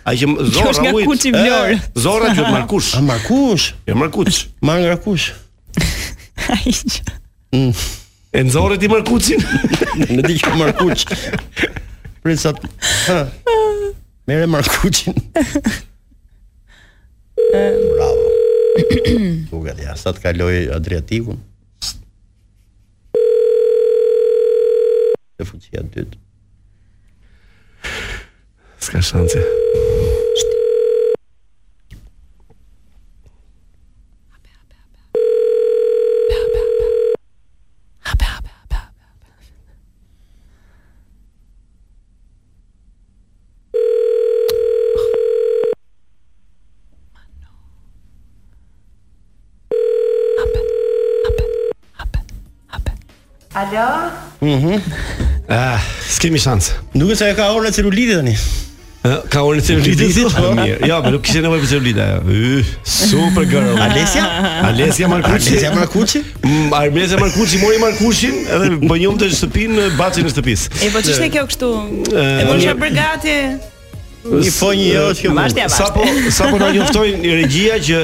Speaker 7: Ai që m-
Speaker 9: Kjo është
Speaker 7: Zorra
Speaker 9: nga
Speaker 7: ujt.
Speaker 9: Kuçi i
Speaker 7: E,
Speaker 9: Vlorë.
Speaker 7: Zorra që Markush.
Speaker 9: A Markush?
Speaker 7: Jo Markuç.
Speaker 9: Ma nga kush?
Speaker 10: Ai që-
Speaker 7: E nxorre ti Markuçin.
Speaker 9: Në di që Markuç. Prit sa ha. Merë Markuçin. Bravo. Duket ja, sa të kaloj Adriatikun. Te fuqia e dytë.
Speaker 7: S'ka shanse.
Speaker 12: Alo?
Speaker 7: Mhm. Ah, s'kemi shans.
Speaker 9: Duket se e ka orën e celulitit tani.
Speaker 7: Ë, Ka orën e celulitit?
Speaker 9: Celulitit, po.
Speaker 7: Ah, Mirë. Jo, po nuk kishte nevojë për celulit ajo. Ë, super girl.
Speaker 9: Alesja?
Speaker 7: Alesja Markuçi.
Speaker 9: Alesja Markuçi?
Speaker 7: Mm, Alesja Markuçi mori Markuçin edhe po njëmte në shtëpinë, bacin e shtëpisë.
Speaker 10: E po ç'ishte kjo kështu?
Speaker 7: E,
Speaker 10: E po
Speaker 7: një-
Speaker 10: çfarë bër gati?
Speaker 9: Një fonjë jo që
Speaker 10: Avashti, avashti.
Speaker 7: Sapo sapo na njoftojnë regjia që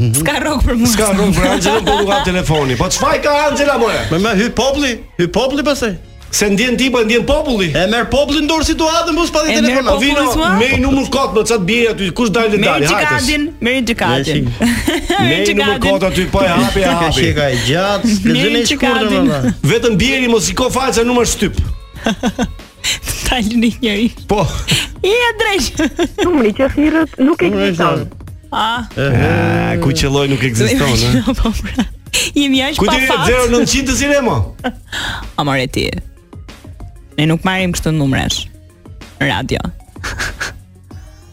Speaker 10: S'ka rrok për mua.
Speaker 7: S'ka rrok për Angela, po nuk ka telefoni. Po çfarë ka Angela more?
Speaker 9: Më më hy populli, hy populli pastaj.
Speaker 7: Se ndjen ti, po ndjen populli.
Speaker 9: E merr populli ndur situatën, po s'pati telefon.
Speaker 7: Po vino, me numër kot më çat bie aty, kush dal le dal,
Speaker 10: Meri Gjikadin, Meri Gjikadin.
Speaker 7: Me numër kot aty po e hapi, e
Speaker 9: Ka
Speaker 7: hapi.
Speaker 9: shika e gjatë, lexoni shkurtër
Speaker 10: Gjikadin.
Speaker 9: valla.
Speaker 7: Vetëm bieri mos i ko faqe numër shtyp.
Speaker 10: Talin njëri.
Speaker 7: Po.
Speaker 10: I e drejt.
Speaker 12: Numri që thirrët nuk ekziston.
Speaker 10: Ah.
Speaker 7: Ah, ku qelloj nuk ekziston, ëh.
Speaker 10: Po pra. Jemi aq
Speaker 7: Ku
Speaker 10: pa
Speaker 7: ti
Speaker 10: fat.
Speaker 7: 0900 si Remo?
Speaker 10: A more ti. Ne nuk marrim kështu numresh. Radio.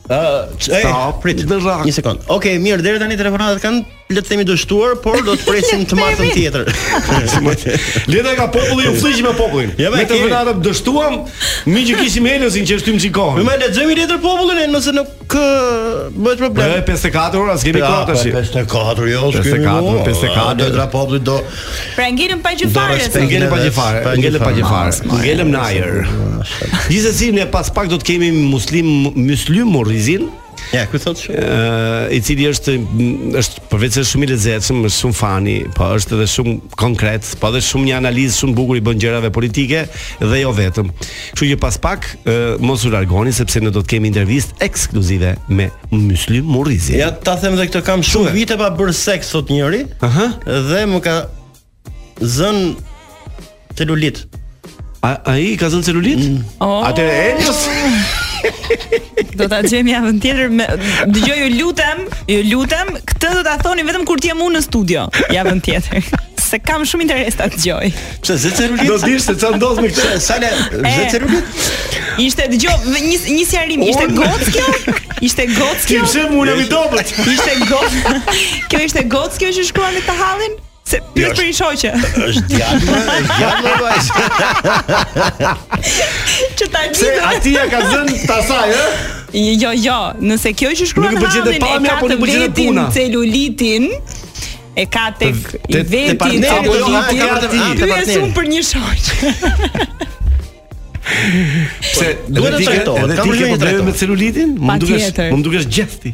Speaker 9: Ë, stop, prit. Një sekond. Okej, mirë, deri tani telefonatat kanë le të themi dështuar, por do të presim të martën tjetër.
Speaker 7: Leta ka populli u fliqi me popullin.
Speaker 9: Ja,
Speaker 7: me
Speaker 9: me
Speaker 7: të
Speaker 9: kemi.
Speaker 7: vëna dështuam, mi që kishim Heliosin që është tym
Speaker 9: Më
Speaker 7: çikon.
Speaker 9: më lexojmë letër popullin e nëse nuk ë, bëhet problem.
Speaker 7: E 54 ora, s'kemi kohë tash.
Speaker 9: 54 jo,
Speaker 7: 54, 54.
Speaker 9: Letra popullit do
Speaker 10: Pra ngelëm pa gjë
Speaker 9: Do
Speaker 10: fare.
Speaker 9: respekt.
Speaker 10: sot.
Speaker 7: Ngelem pa gjefare,
Speaker 9: Pa
Speaker 7: ngelem pa gjefare.
Speaker 9: gjefare.
Speaker 7: Ngelem në ajër. Gjithsesi ne pas pak do të kemi muslim muslim Morrizin.
Speaker 9: Ja, ku thotë shumë.
Speaker 7: Ë, i cili është m, është përveç se është shumë i lezetshëm, është shumë fani, po është edhe shumë konkret, po edhe shumë një analizë shumë bukur i bën gjërave politike dhe jo vetëm. Kështu që pas pak ë, mos u largoni sepse ne do të kemi intervistë ekskluzive me Muslim Morrizin.
Speaker 9: Ja ta them edhe këtë kam shumë vite pa bërë seks sot njëri.
Speaker 7: Aha.
Speaker 9: Dhe më ka zën celulit.
Speaker 7: A ai ka zënë celulit?
Speaker 10: Oh.
Speaker 7: Atëre Elios
Speaker 10: Do ta gjejmë javën tjetër me dëgjoj ju lutem, ju lutem, këtë do ta thoni vetëm kur të jem unë në studio javën tjetër. Se kam shumë interes ta dëgjoj.
Speaker 9: Pse zë celulit?
Speaker 7: do dish se çfarë ndodh me këtë.
Speaker 9: Sa le zë celulit?
Speaker 10: Ishte dëgjoj vë- një një sjarim, ishte
Speaker 7: Unë-
Speaker 10: gocë kjo? Ishte gocë
Speaker 7: Ti
Speaker 10: kjo?
Speaker 7: pse mu ulëm i dobët?
Speaker 10: Ishte gocë. Kjo ishte gocë kjo që shkruan me këtë hallin? Se pyet për një shoqe
Speaker 9: Është djalë, është djalë vajzë.
Speaker 10: që ta
Speaker 7: Se
Speaker 10: gjithë.
Speaker 7: aty ja ka zënë tasaj, ë?
Speaker 10: Jo, jo, nëse kjo që shkruan
Speaker 7: Nuk i pëlqen të
Speaker 10: hallin e
Speaker 7: pamja,
Speaker 10: ka
Speaker 7: po
Speaker 10: të
Speaker 7: nuk i pëlqen të
Speaker 10: vetin
Speaker 7: puna.
Speaker 10: celulitin, e ka tek i
Speaker 7: Te- te
Speaker 10: vetin
Speaker 7: partneri, apo jo, ha, e ka
Speaker 10: celulitin.
Speaker 7: vetëm- ha, te
Speaker 10: Pyes
Speaker 7: partneri.
Speaker 10: unë për një shoqë.
Speaker 7: Pse
Speaker 9: Duhet
Speaker 7: edhe
Speaker 9: të
Speaker 7: ti ke-
Speaker 9: trajtohet, ka
Speaker 7: Edhe po ti ke
Speaker 9: probleme
Speaker 7: probleme me
Speaker 9: trajtohet.
Speaker 7: celulitin? Mu më dukesh,
Speaker 10: Patjetër.
Speaker 7: mu më dukesh gjethti.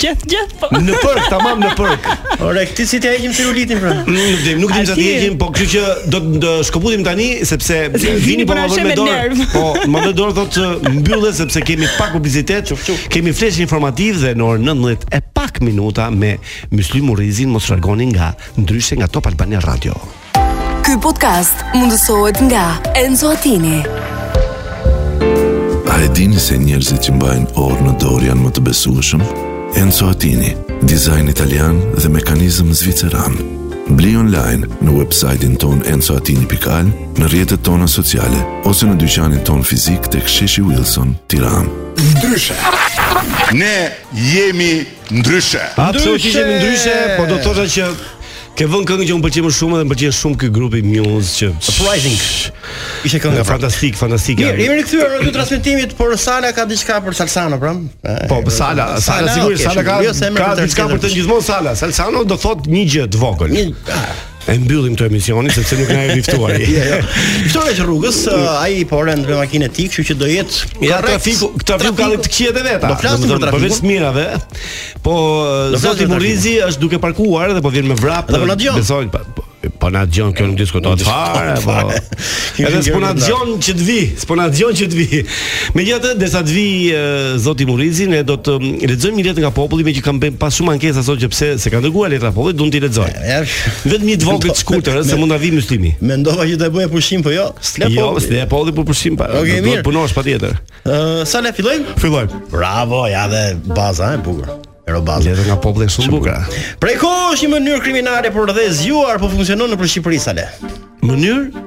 Speaker 10: Gjeth, gjeth, po.
Speaker 7: Në përk, tamam në përk.
Speaker 9: Ore, këti si t'ja heqim celulitin pra.
Speaker 7: Mm, Nuk dim, nuk dim sa
Speaker 10: Ati.
Speaker 7: ti heqim, po kështu që do të shkëputim tani sepse vini po
Speaker 10: për
Speaker 7: më
Speaker 10: ashe
Speaker 7: vjen me
Speaker 10: me
Speaker 7: dorë.
Speaker 10: nerv.
Speaker 7: Po, më vjen dorë thotë që mbyllë sepse kemi pak publicitet, kemi flesh informativ dhe në orën 19 e pak minuta me Myslim Urrizin mos largoni nga ndryshe nga Top Albania Radio.
Speaker 3: Ky podcast mundësohet nga Enzo Attini.
Speaker 2: A e dini se njerëzit që mbajnë orë në dorë janë më të besueshëm? Enzo Attini, dizajn italian dhe mekanizëm zviceran. Bli online në website-in ton enzoatini.al, në rjetët tona sociale, ose në dyqanin ton fizik të ksheshi Wilson, tiran.
Speaker 13: Ndryshe. Ne jemi ndryshe.
Speaker 7: A pse u qishemi ndryshe, po do thosha që ke vënë këngë që më pëlqen më shumë dhe më pëlqen shumë ky grupi Muse që
Speaker 9: Uprising. Ishte kënga pra.
Speaker 7: fantastik, fantastik.
Speaker 9: Mirë, jemi rikthyer në dy transmetimit, por Sala ka diçka për Salsano pra. E,
Speaker 7: Po, për Sala, Sala sigurisht,
Speaker 9: okay,
Speaker 7: Sala ka
Speaker 9: jo, se e merr
Speaker 7: ka
Speaker 9: për
Speaker 7: diçka
Speaker 9: tjetër.
Speaker 7: për të gjithmonë Sala. Salsano do thot një gjë të vogël.
Speaker 9: ah.
Speaker 7: E mbyllim këtë emisionin sepse nuk na e riftuari.
Speaker 9: Jo, jo. Ftoja që rrugës, uh, ai po rend me makinë e tij, kështu që do jetë
Speaker 7: Ja
Speaker 9: korrekt.
Speaker 7: trafiku, trafiku ka dhe të qiet e veta.
Speaker 9: Do flasim për
Speaker 7: Domethënë,
Speaker 9: trafikun.
Speaker 7: përveç mirave, po
Speaker 9: Do flasim për
Speaker 7: zoti
Speaker 9: trafikun.
Speaker 7: Murrizi është duke parkuar dhe po vjen me vrap.
Speaker 9: Dhe po na dëgjon.
Speaker 7: Besoj, pa- po- po na dëgjon, kjo nuk diskutohet fare, po. Edhe s'po na dëgjon që të vi, s'po na dëgjon që të vi. Megjithatë, derisa të vi e, zoti Murrizi, ne do të mm, lexojmë një letër nga populli, me që kam bën pas shumë ankesa sot që pse se kanë dërguar letra popullit, duan t'i lexoj.
Speaker 9: Ja,
Speaker 7: Vetëm një të vogël të shkurtër, ë, se mund ta vi muslimi.
Speaker 9: Mendova që do e bëja pushim, po jo. S'le
Speaker 7: Jo,
Speaker 9: po.
Speaker 7: s'le populli po pushim pa.
Speaker 9: Okej,
Speaker 7: do- Do
Speaker 9: mirë.
Speaker 7: të punosh patjetër.
Speaker 9: Ë, Sala Eh, fillojmë?
Speaker 7: Fillojmë.
Speaker 9: Bravo, ja dhe baza e bukur. Ero baza.
Speaker 7: Letra nga populli është shumë bukur.
Speaker 9: Prej kohë është një mënyrë kriminale por dhe e zgjuar, po funksionon nëpër Shqipëri Sale.
Speaker 7: Mënyrë?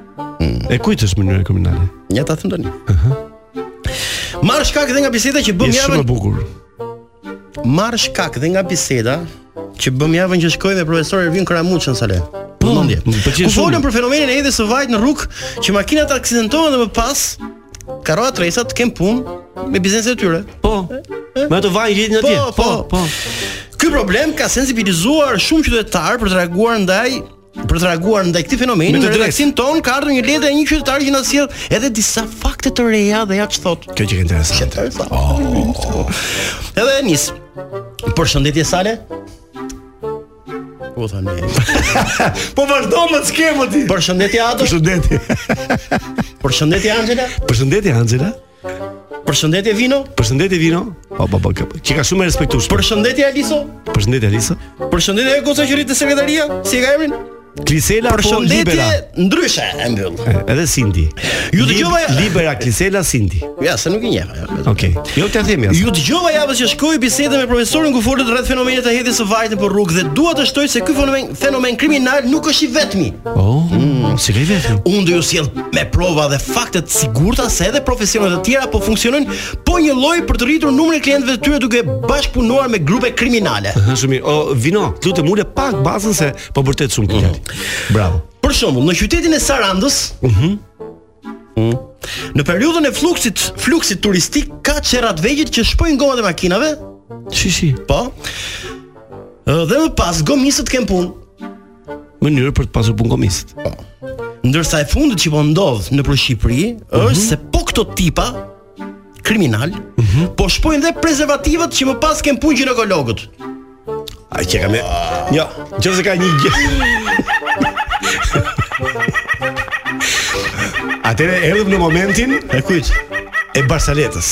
Speaker 7: E kujt është mënyra kriminale?
Speaker 9: Ja ta them tani. Marr shkak dhe nga biseda që bëm
Speaker 7: Është shumë
Speaker 9: javën
Speaker 7: e bukur.
Speaker 9: marr shkak dhe nga biseda që bëm javën që shkoj me profesor Ervin Kramuçën Sale. Po,
Speaker 7: më
Speaker 9: Ku
Speaker 7: pëlqen shumë.
Speaker 9: folën për fenomenin e hedhjes së vajt në rrugë që makinat aksidentohen dhe më pas karroja tresa të kem punë me bizneset e tyre.
Speaker 7: Po. Me ato vajin gjetin atje.
Speaker 9: Po, po, Ky problem ka sensibilizuar shumë qytetar për të reaguar ndaj për të reaguar ndaj këtij fenomeni.
Speaker 7: Me të
Speaker 9: Në
Speaker 7: drejtë.
Speaker 9: redaksin ton ka ardhur një letër e një qytetari që na sjell edhe disa fakte të reja dhe ja ç'thot.
Speaker 7: Kjo që ke interesant.
Speaker 9: Edhe e nis. Përshëndetje Sale. u thani.
Speaker 14: po vazhdo me skemën ti.
Speaker 9: Përshëndetje Ato.
Speaker 7: Përshëndetje.
Speaker 9: Përshëndetje Angela.
Speaker 7: Përshëndetje Angela.
Speaker 9: Përshëndetje Vino.
Speaker 7: Përshëndetje Vino. Po po po. Çi ka shumë respektush.
Speaker 9: Përshëndetje Aliso.
Speaker 7: Përshëndetje Alisa.
Speaker 9: Përshëndetje e goca që rritë sekretaria. Si e ka emrin?
Speaker 7: Klisela po
Speaker 9: Përshëndetje
Speaker 7: Libera.
Speaker 9: ndryshe e mbyll.
Speaker 7: Edhe Cindy.
Speaker 9: Ju
Speaker 7: Lib-
Speaker 9: dëgjova
Speaker 7: Libera Klisela Cindy.
Speaker 9: Ja, se nuk i njeh. ja.
Speaker 7: Okej. Jo t'ia themi
Speaker 9: Ju
Speaker 7: as.
Speaker 9: dëgjova javës që shkoi bisedë me profesorin ku folët rreth fenomenit të hedhjes së vajit nëpër rrugë dhe dua të shtoj se ky fenomen fenomen kriminal nuk është i vetmi.
Speaker 7: Oh, si ke vetëm.
Speaker 9: Unë do ju sjell me prova dhe fakte të sigurta se edhe profesionet të tjera po funksionojnë po një lloj për të rritur numrin e klientëve të tyre duke bashkëpunuar me grupe kriminale.
Speaker 7: Aha, Shumë mirë. O Vino, lutem ule pak bazën se po vërtet shumë kujt. Bravo.
Speaker 9: Për shembull, në qytetin e Sarandës, Mm.
Speaker 7: Mhm.
Speaker 9: në periudhën e fluksit fluksit turistik ka çerrat vegjël që shpojnë gomat e makinave.
Speaker 7: Shi shi.
Speaker 9: Po. Ë, Dhe më pas gomisët kanë punë.
Speaker 7: Mënyrë për të pasur punkomist.
Speaker 9: Ndërsa e fundit që po ndodh në për Shqipëri
Speaker 7: Mhm.
Speaker 9: është se po këto tipa kriminal
Speaker 7: Mhm.
Speaker 9: po shpojnë dhe prezervativat që më pas kanë punë ginekologët.
Speaker 7: Ai që kam. Jo, nëse ka një gjë. Atëre erdhëm në momentin
Speaker 9: e kujt?
Speaker 7: E Barsaletës.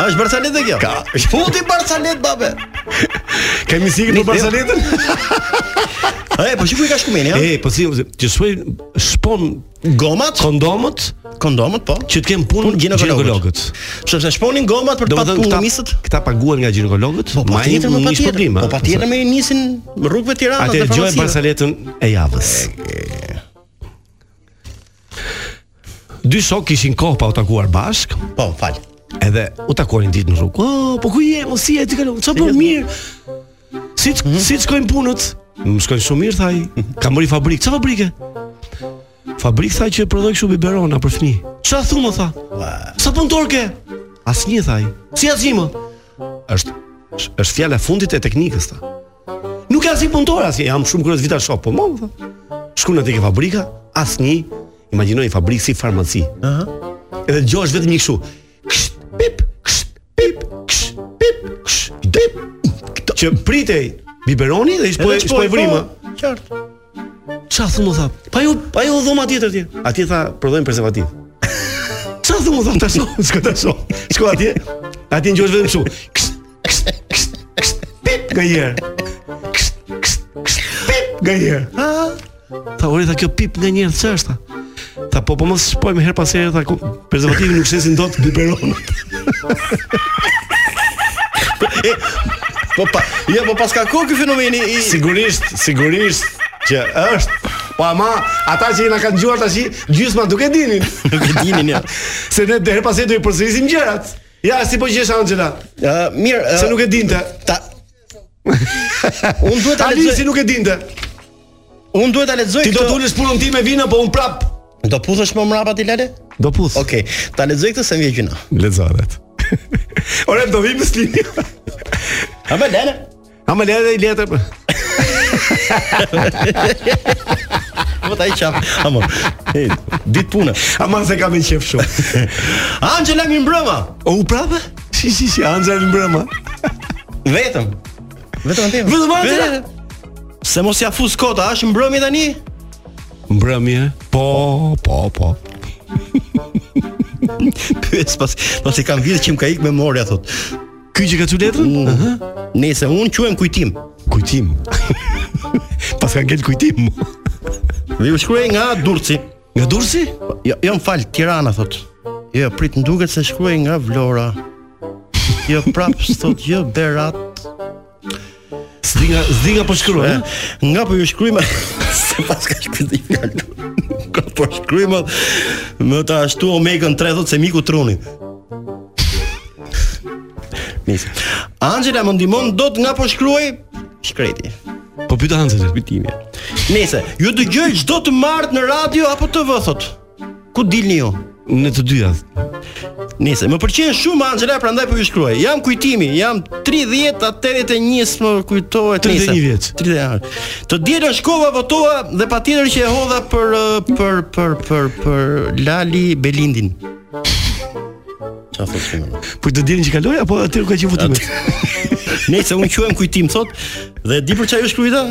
Speaker 9: A është Barsaleta kjo? Ka. Futi Barsalet babe.
Speaker 7: Kemi sigurt për Barsaletën?
Speaker 9: E, po shikoj ka shkumeni, ha?
Speaker 7: E, po si, që shpoj shpon
Speaker 9: gomat,
Speaker 7: kondomët,
Speaker 9: kondomët po,
Speaker 7: që të kemë punë
Speaker 9: Punë ginekologët.
Speaker 7: ginekologët.
Speaker 9: Sepse shponin gomat për të
Speaker 7: Domethënë
Speaker 9: patur
Speaker 7: këta
Speaker 9: punëmisët.
Speaker 7: këta paguhen nga ginekologët,
Speaker 9: Po
Speaker 7: ma
Speaker 9: patjetër, po
Speaker 7: një një
Speaker 9: patjetër.
Speaker 7: shpërblim.
Speaker 9: Po patjetër me nisin rrugëve të Tiranës
Speaker 7: Atë
Speaker 9: dhe
Speaker 7: dëgjoj
Speaker 9: farmacive.
Speaker 7: Barsaletën e javës. Dy shok kishin kohë pa u takuar bashk.
Speaker 9: Po, fal.
Speaker 7: Edhe u takonin ditë në rrugë. Oh, po ku je? Mos si e ti kalon? Çfarë bën mirë? Si të- si të shkojnë punët? Më shkojnë shumë mirë thaj. Kam bërë fabrikë. Çfarë fabrike? Fabrikë tha që prodhoi kështu biberona për fëmijë. Çfarë thumë tha? Sa punëtor ke? Asnjë thaj. Si asnjë më? Është është fjala e fundit e teknikës tha. Nuk ka asnjë punëtor asnjë, jam shumë kurioz vita shop, po më më tha. Shkon atë ke fabrika, asnjë. Imagjinoj një fabrikë si farmaci.
Speaker 9: Aha.
Speaker 7: Edhe dëgjosh vetëm një kështu. Ksh, pip, ksh, pip, ksh, pip, ksh, pip. Që pritej biberoni dhe i shpoj
Speaker 9: Edhe
Speaker 7: shpoj
Speaker 9: po,
Speaker 7: vrimë.
Speaker 9: Qartë.
Speaker 7: Çfarë thumë tha? Pa ju, pa ju dhoma tjetër atje. Atje tha prodhojmë prezervativ. Çfarë thumë tha tash? Shko tash. Shko atje. Atje ngjosh vetëm kështu. Ksh, ksh, ksh, ksh, pip gajher. Ksh, ksh, ksh, pip gajher. Ah. Tha, ori tha kjo pip nga njerë çfarë është? tha? Tha, po po mos shpojmë her pas here tha, ku- prezervativin nuk shesin dot biberonat.
Speaker 9: Po pa, ja po pas ka kohë ky fenomeni i
Speaker 7: Sigurisht, sigurisht që është Po ama, ata që i na kanë gjuar tash gjysma nuk e dinin.
Speaker 9: nuk e dinin ja.
Speaker 7: Se ne der pas do i përsërisim gjërat. Ja, si po gjesh Angela?
Speaker 9: Ë, mirë, ë,
Speaker 7: Se nuk e dinte.
Speaker 9: ta Unë duhet ta
Speaker 7: Ali si
Speaker 9: lexoj.
Speaker 7: nuk e dinte.
Speaker 9: Unë duhet ta lexoj.
Speaker 7: Ti do
Speaker 9: këtë-
Speaker 7: të ulësh punën time vina, po un prap.
Speaker 9: Do puthesh më mrapa ti Lale?
Speaker 7: Do puth.
Speaker 9: Okej, ta lexoj këtë se më vjen gjëna.
Speaker 7: Lexohet. Ore do vim në linjë.
Speaker 9: A më Lale?
Speaker 7: Ama le edhe i letër.
Speaker 9: Po ta i çaf. Amor. Hey, dit punë.
Speaker 7: Ama se kam e qef shumë.
Speaker 9: Angela mi mbrëma.
Speaker 7: O u prapë? Si si si Angela në mbrëma.
Speaker 9: Vetëm. Vetëm atë.
Speaker 7: Vetëm Angela?
Speaker 9: Se mos ja fus kota, është mbrëmi tani?
Speaker 7: Mbrëmje. Po, po, po.
Speaker 9: Pyet pas, pasi kam vjedhë që më ka ikë memoria thot.
Speaker 7: Ky që ka çu letrën? Aha.
Speaker 9: Nëse unë quhem kujtim.
Speaker 7: Kujtim. Pas ka ngel kujtim.
Speaker 9: Dhe ju shkruaj nga Durrësi.
Speaker 7: Nga Durrësi?
Speaker 9: Jo, jo më fal, Tirana thot. Jo, prit më duket se shkruaj nga Vlora. Jo, prap thot jo Berat.
Speaker 7: S'di nga s'di nga po shkruaj.
Speaker 9: E, Nga po ju shkruajmë se pas ka shkruaj fjalë. Nga po shkruajmë më ta ashtu Omegën 3 thot se miku truni. Nice. Angela më ndihmon dot nga po shkruaj shkreti.
Speaker 7: Po pyeta Hansel.
Speaker 9: Kujtimi. Nëse ju dëgjoj çdo të martë në radio apo TV thot. Ku dilni ju?
Speaker 7: Në të dyja.
Speaker 9: Nëse më pëlqen shumë Angela, prandaj po ju shkruaj. Jam kujtimi, jam 30 81 më kujtohet
Speaker 7: 31 vjeç.
Speaker 9: 31. Të dielën shkova votova dhe patjetër që e hodha për ë, për për për për Lali Belindin. Çfarë thotë?
Speaker 7: Po të dilin që kaloj apo atë ka qenë votimi?
Speaker 9: Nëse unë quhem kujtim thot dhe di për çfarë ju shkruajta,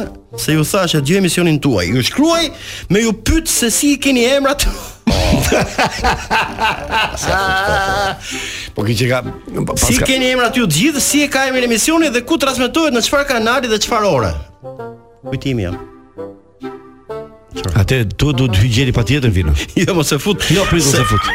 Speaker 9: se ju thash atë gjë emisionin tuaj. Ju shkruaj me ju pyet se si i keni emrat.
Speaker 7: Po ki që ka paska,
Speaker 9: si keni emrat ju të gjithë, si e ka emrin emisioni dhe ku transmetohet në çfarë kanali dhe çfarë ore. Kujtimi jam.
Speaker 7: Atë tu do të hyjeri patjetër vino.
Speaker 9: Jo mos e fut.
Speaker 7: Jo, prit mos e fut.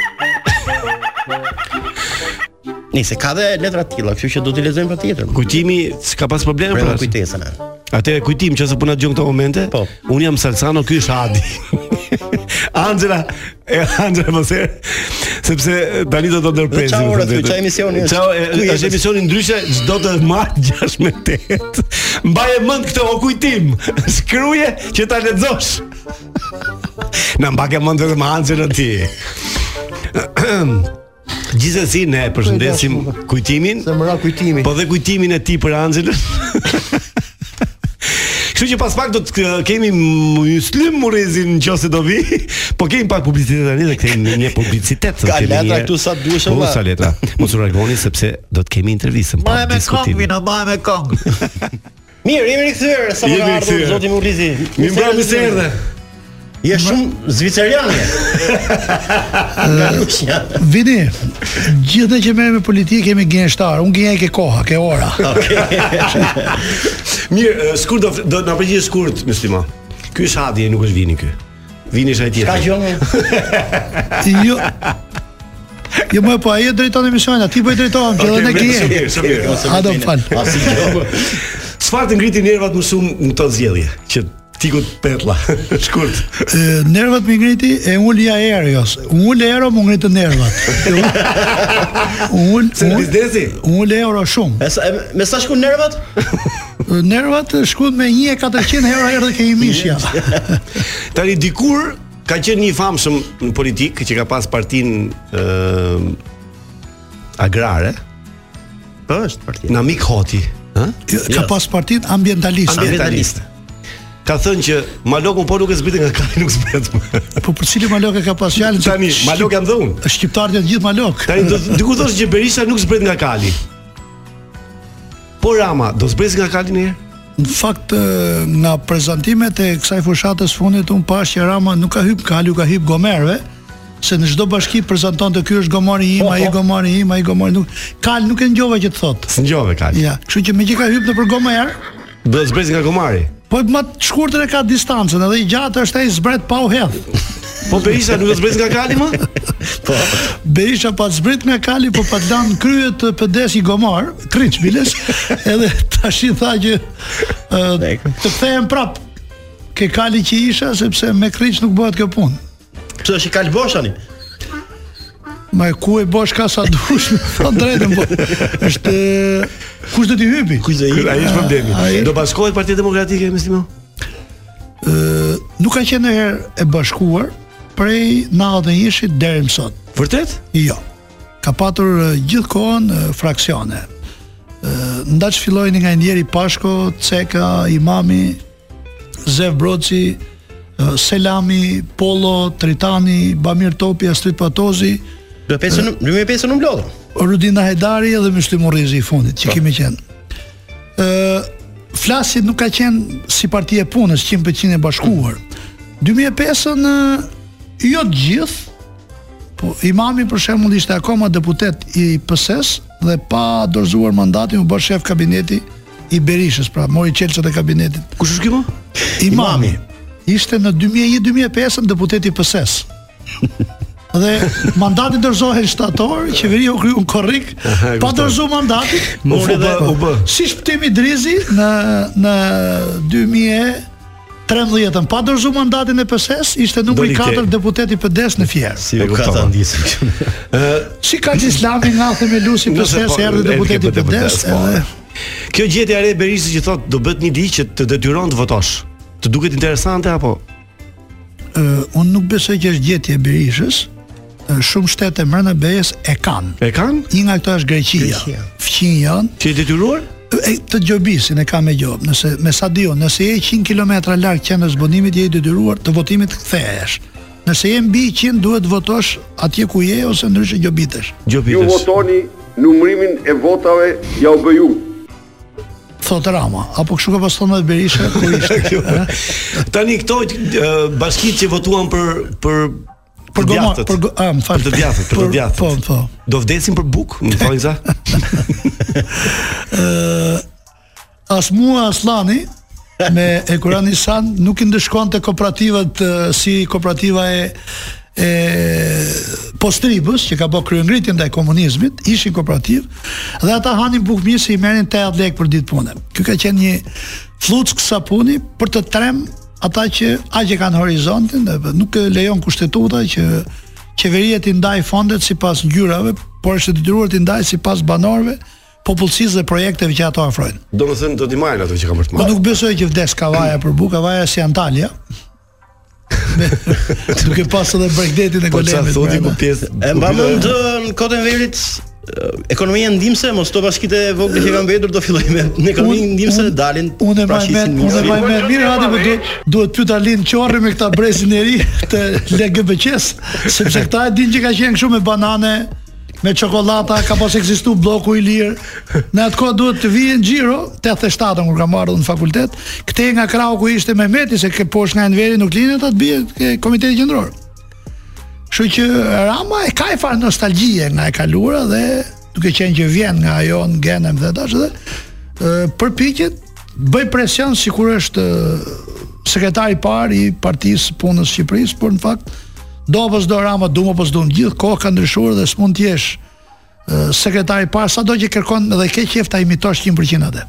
Speaker 9: Nëse ka dhe letra të tilla, kështu që do t'i lexojmë patjetër.
Speaker 7: Kujtimi s'ka pas probleme
Speaker 9: Brenda
Speaker 7: për atë.
Speaker 9: kujtesën. e.
Speaker 7: Atëre kujtim që sa puna dëgjon këto momente. Po. Un jam Salsano, ky është Adi. Angela, e Angela mos e sepse tani do të
Speaker 9: Dhe
Speaker 7: ndërpresim.
Speaker 9: çfarë ore
Speaker 7: thënë
Speaker 9: ty,
Speaker 7: drejtën.
Speaker 9: çfarë emisioni është?
Speaker 7: Çao, e,
Speaker 9: Ku
Speaker 7: është
Speaker 9: jetë?
Speaker 7: emisioni ndryshe, çdo të marr 6 me 8. Mbaje mend këtë o kujtim. Shkruaje që ta lexosh. Na mbake mend vetëm Angelën ti. Gjithsesi ne e përshëndesim kujtimin. Se mëra kujtimin. Po dhe kujtimin e ti për Angelën. Kështu që pas pak do të k- kemi Myslim Murezin nëse do vi, po kemi pak publicitet tani dhe kemi një- një publicitet.
Speaker 9: Ka
Speaker 7: kemi
Speaker 9: letra
Speaker 7: një-
Speaker 9: këtu sa duhesh,
Speaker 7: Po
Speaker 9: valla.
Speaker 7: sa letra. Mos u largoni sepse do të kemi intervistën pa diskutim.
Speaker 9: ma me kong. Mirë, jemi rikthyer sa më
Speaker 7: Jemi
Speaker 9: ka ardhur
Speaker 7: rikthyer.
Speaker 9: zoti Mulizi.
Speaker 7: Mi mbra mi se erdhe.
Speaker 9: Je shumë zviceran je. Nga Rusja.
Speaker 15: Vini, gjithë ne që merrem me politikë kemi gjenshtar. Unë gjenja ke koha, ke ora.
Speaker 7: Mirë, e, skurt do do na përgjigjesh skurt Myslima. Ky është Hadi, nuk është Vini ky. Vini është ai tjetër.
Speaker 9: Ka gjë më.
Speaker 15: jo. Jo më po ai e drejton emisionin, ti po i drejton, që edhe ne
Speaker 7: Okej, mirë,
Speaker 15: gjenje.
Speaker 7: shumë mirë, shumë mirë.
Speaker 15: A do më fal.
Speaker 7: Çfarë të ngriti nervat më shumë në këtë zgjedhje? Që tikut petlla. Shkurt.
Speaker 15: E, Nervat më ngriti e ul ja Erios. Ul Ero më ngritë nervat. Ul
Speaker 7: Se biznesi?
Speaker 15: Ul Ero shumë.
Speaker 9: E sa- e, Me sa shkon nervat?
Speaker 15: Nervat shkuan me 1400 herë erdhi ke i mishja.
Speaker 7: Tani dikur ka qenë një i famshëm në politikë që ka pas partinë ë agrare.
Speaker 9: Po është partia.
Speaker 7: Namik Hoti, ë?
Speaker 15: Ka pas partin ambientalist.
Speaker 7: ambientalist. Ka thënë që Malokun po nuk e zbrit nga kali, nuk zbret më.
Speaker 15: Po për cilin malok e ka pas fjalën? që-
Speaker 7: Tani Malok jam dhe unë.
Speaker 15: Shqiptarët janë gjithë malok.
Speaker 7: Tani do diku thosh që Berisha nuk zbret nga kali. Po Rama, do zbres nga kali një herë?
Speaker 15: Në fakt ë, nga prezantimet e kësaj fushatës fundit un pash që Rama nuk ka hyp Kalu, ka hyp Gomerve se në çdo bashki prezantonte ky është gomari im, ai gomari im, ai gomari nuk Kal nuk e ngjova që të thotë.
Speaker 7: Së ngjove kali.
Speaker 15: Ja, kështu që me që ka hyp në për Gomer,
Speaker 7: Do zbres nga Gomari.
Speaker 15: po më të shkurtër e ka distancën, edhe i gjatë është ai zbret pa u hedh.
Speaker 7: Po Berisha nuk do zbres nga kali më?
Speaker 9: Po.
Speaker 15: Berisha pa të zbrit nga kali, po pa të lanë kryet të pëdes i gomar, kryç biles, edhe tash i tha që ë, të kthehem prap ke kali që isha, sepse me kryç nuk bëhet kjo punë.
Speaker 9: Pse është i kalbosh tani?
Speaker 15: Ma e ku e bosh ka sa dush, me thënë drejtën, po është ë, kush do t'i hypi? Kush do
Speaker 7: Ai është problemi.
Speaker 15: Ai-
Speaker 7: Do bashkohet Partia Demokratike me Simo?
Speaker 15: Nuk ka qenë herë e bashkuar prej 91-shit deri më sot.
Speaker 7: Vërtet?
Speaker 15: Jo. Ka patur uh, gjithkohon uh, fraksione. Uh, ndaç fillojnë nga Indieri Pashko, Ceka, Imami, Zev Broci, uh, Selami, Polo, Tritani, Bamir Topi, Astrid Patozi,
Speaker 9: 2005 2005 në mblodhëm.
Speaker 15: Rudina Hajdari edhe Myslim Urrezi i fundit që kemi qenë. Ë flasit nuk ka qenë si parti e punës 100% e bashkuar. 2005-ën ë, jo të gjithë, po Imami për shembull ishte akoma deputet i PS-s dhe pa dorëzuar mandatin u bë shef kabineti i Berishës, pra mori çelçat e kabinetit.
Speaker 7: Kush është ky më?
Speaker 15: Imami. Ishte në 2001-2005 deputet i PS-s. Dhe mandati dorëzohej shtator, qeveria u kryu në korrik,
Speaker 7: Aha, e
Speaker 15: pa
Speaker 7: kuptoj.
Speaker 15: dorëzuar mandatin.
Speaker 7: Mori dhe- u bë.
Speaker 15: Si shpëtimi i Drizi në në 2013-ën, pa dorëzuar mandatin e PS-s, ishte numri
Speaker 7: Doli te.
Speaker 15: 4 deputet i PD-s në Fierë.
Speaker 9: Si e kuptova.
Speaker 15: Si ka që islami nga themelusi
Speaker 7: Nëse
Speaker 15: PS-s
Speaker 7: po-
Speaker 15: erdhi deputet i
Speaker 7: erdhi
Speaker 15: PD-s,
Speaker 7: po.
Speaker 15: edhe
Speaker 7: Kjo gjetje e re e Berisës që thotë do bëhet një ligj që të detyron të votosh. Të duket interesante apo?
Speaker 15: Uh, unë nuk besoj që është gjetje e Berishës. Ë, Shumë shtete brenda BE-s e kanë.
Speaker 7: E kanë?
Speaker 15: Një nga ato është Greqia.
Speaker 7: Greqia.
Speaker 15: Fqin janë.
Speaker 7: Që e detyruar?
Speaker 15: E, të gjobisin e ka me gjob. Nëse me sa diu, nëse je 100 kilometra larg qendrës zbonimit je i detyruar të votimit kthehesh. Nëse je mbi 100 duhet votosh atje ku je ose ndryshe gjobitesh.
Speaker 16: Ju votoni numrimin e votave ja u bëju.
Speaker 15: thot Rama, apo kështu ka pas thonë edhe Berisha kur ishte.
Speaker 7: Tani këto ë, bashkitë që votuan për për
Speaker 15: Për goma-
Speaker 7: djathtët.
Speaker 15: për go- a, më fal.
Speaker 7: Për të djathtët, për të
Speaker 15: Për-
Speaker 7: djathtët.
Speaker 15: po, po.
Speaker 7: Do vdesin për buk, më thoni za?
Speaker 15: Ë as mua as Lani me Ekuran Nisan nuk i ndëshkonte kooperativat ë, si kooperativa e e postribës që ka bërë kryengritjen ndaj komunizmit, ishin kooperativ dhe ata hanin bukë mirë se i merrin 80 lekë për ditë pune. Ky ka qenë një fluck sapuni për të trem ata që aq e kanë horizontin, dhe nuk e lejon kushtetuta që qeveria ti ndaj fondet sipas ngjyrave, por është e detyruar ti ndaj sipas banorëve, popullsisë dhe projekteve që ato ofrojnë.
Speaker 7: Do të thënë do t'i marrin ato që kanë për të
Speaker 15: Po
Speaker 7: marrë.
Speaker 15: nuk besoj që vdes Kavaja për bukë, Kavaja si Antalya. Duke pas edhe bregdetin
Speaker 7: Po
Speaker 15: e golemit. Po, brenda.
Speaker 9: E mba mend ë, në kodën e verit ë, ekonomia ndimse mos to bashkitë e vogla që kanë mbetur do fillojnë me në ekonomi ndimse dhe dalin. pra
Speaker 15: Unë e mbaj mend, unë e mbaj mend mirë, hadi po duhet duhet pyeta Lin Qorri me këta brezin e ri të LGBTs, sepse këta e dinë që ka qenë kështu me banane, me çokoladata, ka pas ekzistuar bloku i lirë. Në atë kohë duhet të vijë në Giro 87 kur kam ardhur në fakultet. Kthej nga krahu ku ishte Mehmeti se ke poshtë nga Enveri nuk linet atë bie ke komiteti qendror. Kështu që Rama e ka e farë nostalgjie nga e kaluara dhe duke qenë që vjen nga ajo në genem dhe tash dhe ë, përpiqet bëj presion sikur është ë, sekretari i parë i Partisë Punës së Shqipërisë, por në fakt do apo s'do Rama, do apo s'do në gjithë kohë ka ndryshuar dhe s'mund të jesh ë, sekretari i parë sado që kërkon dhe ke qejf ta imitosh 100% atë.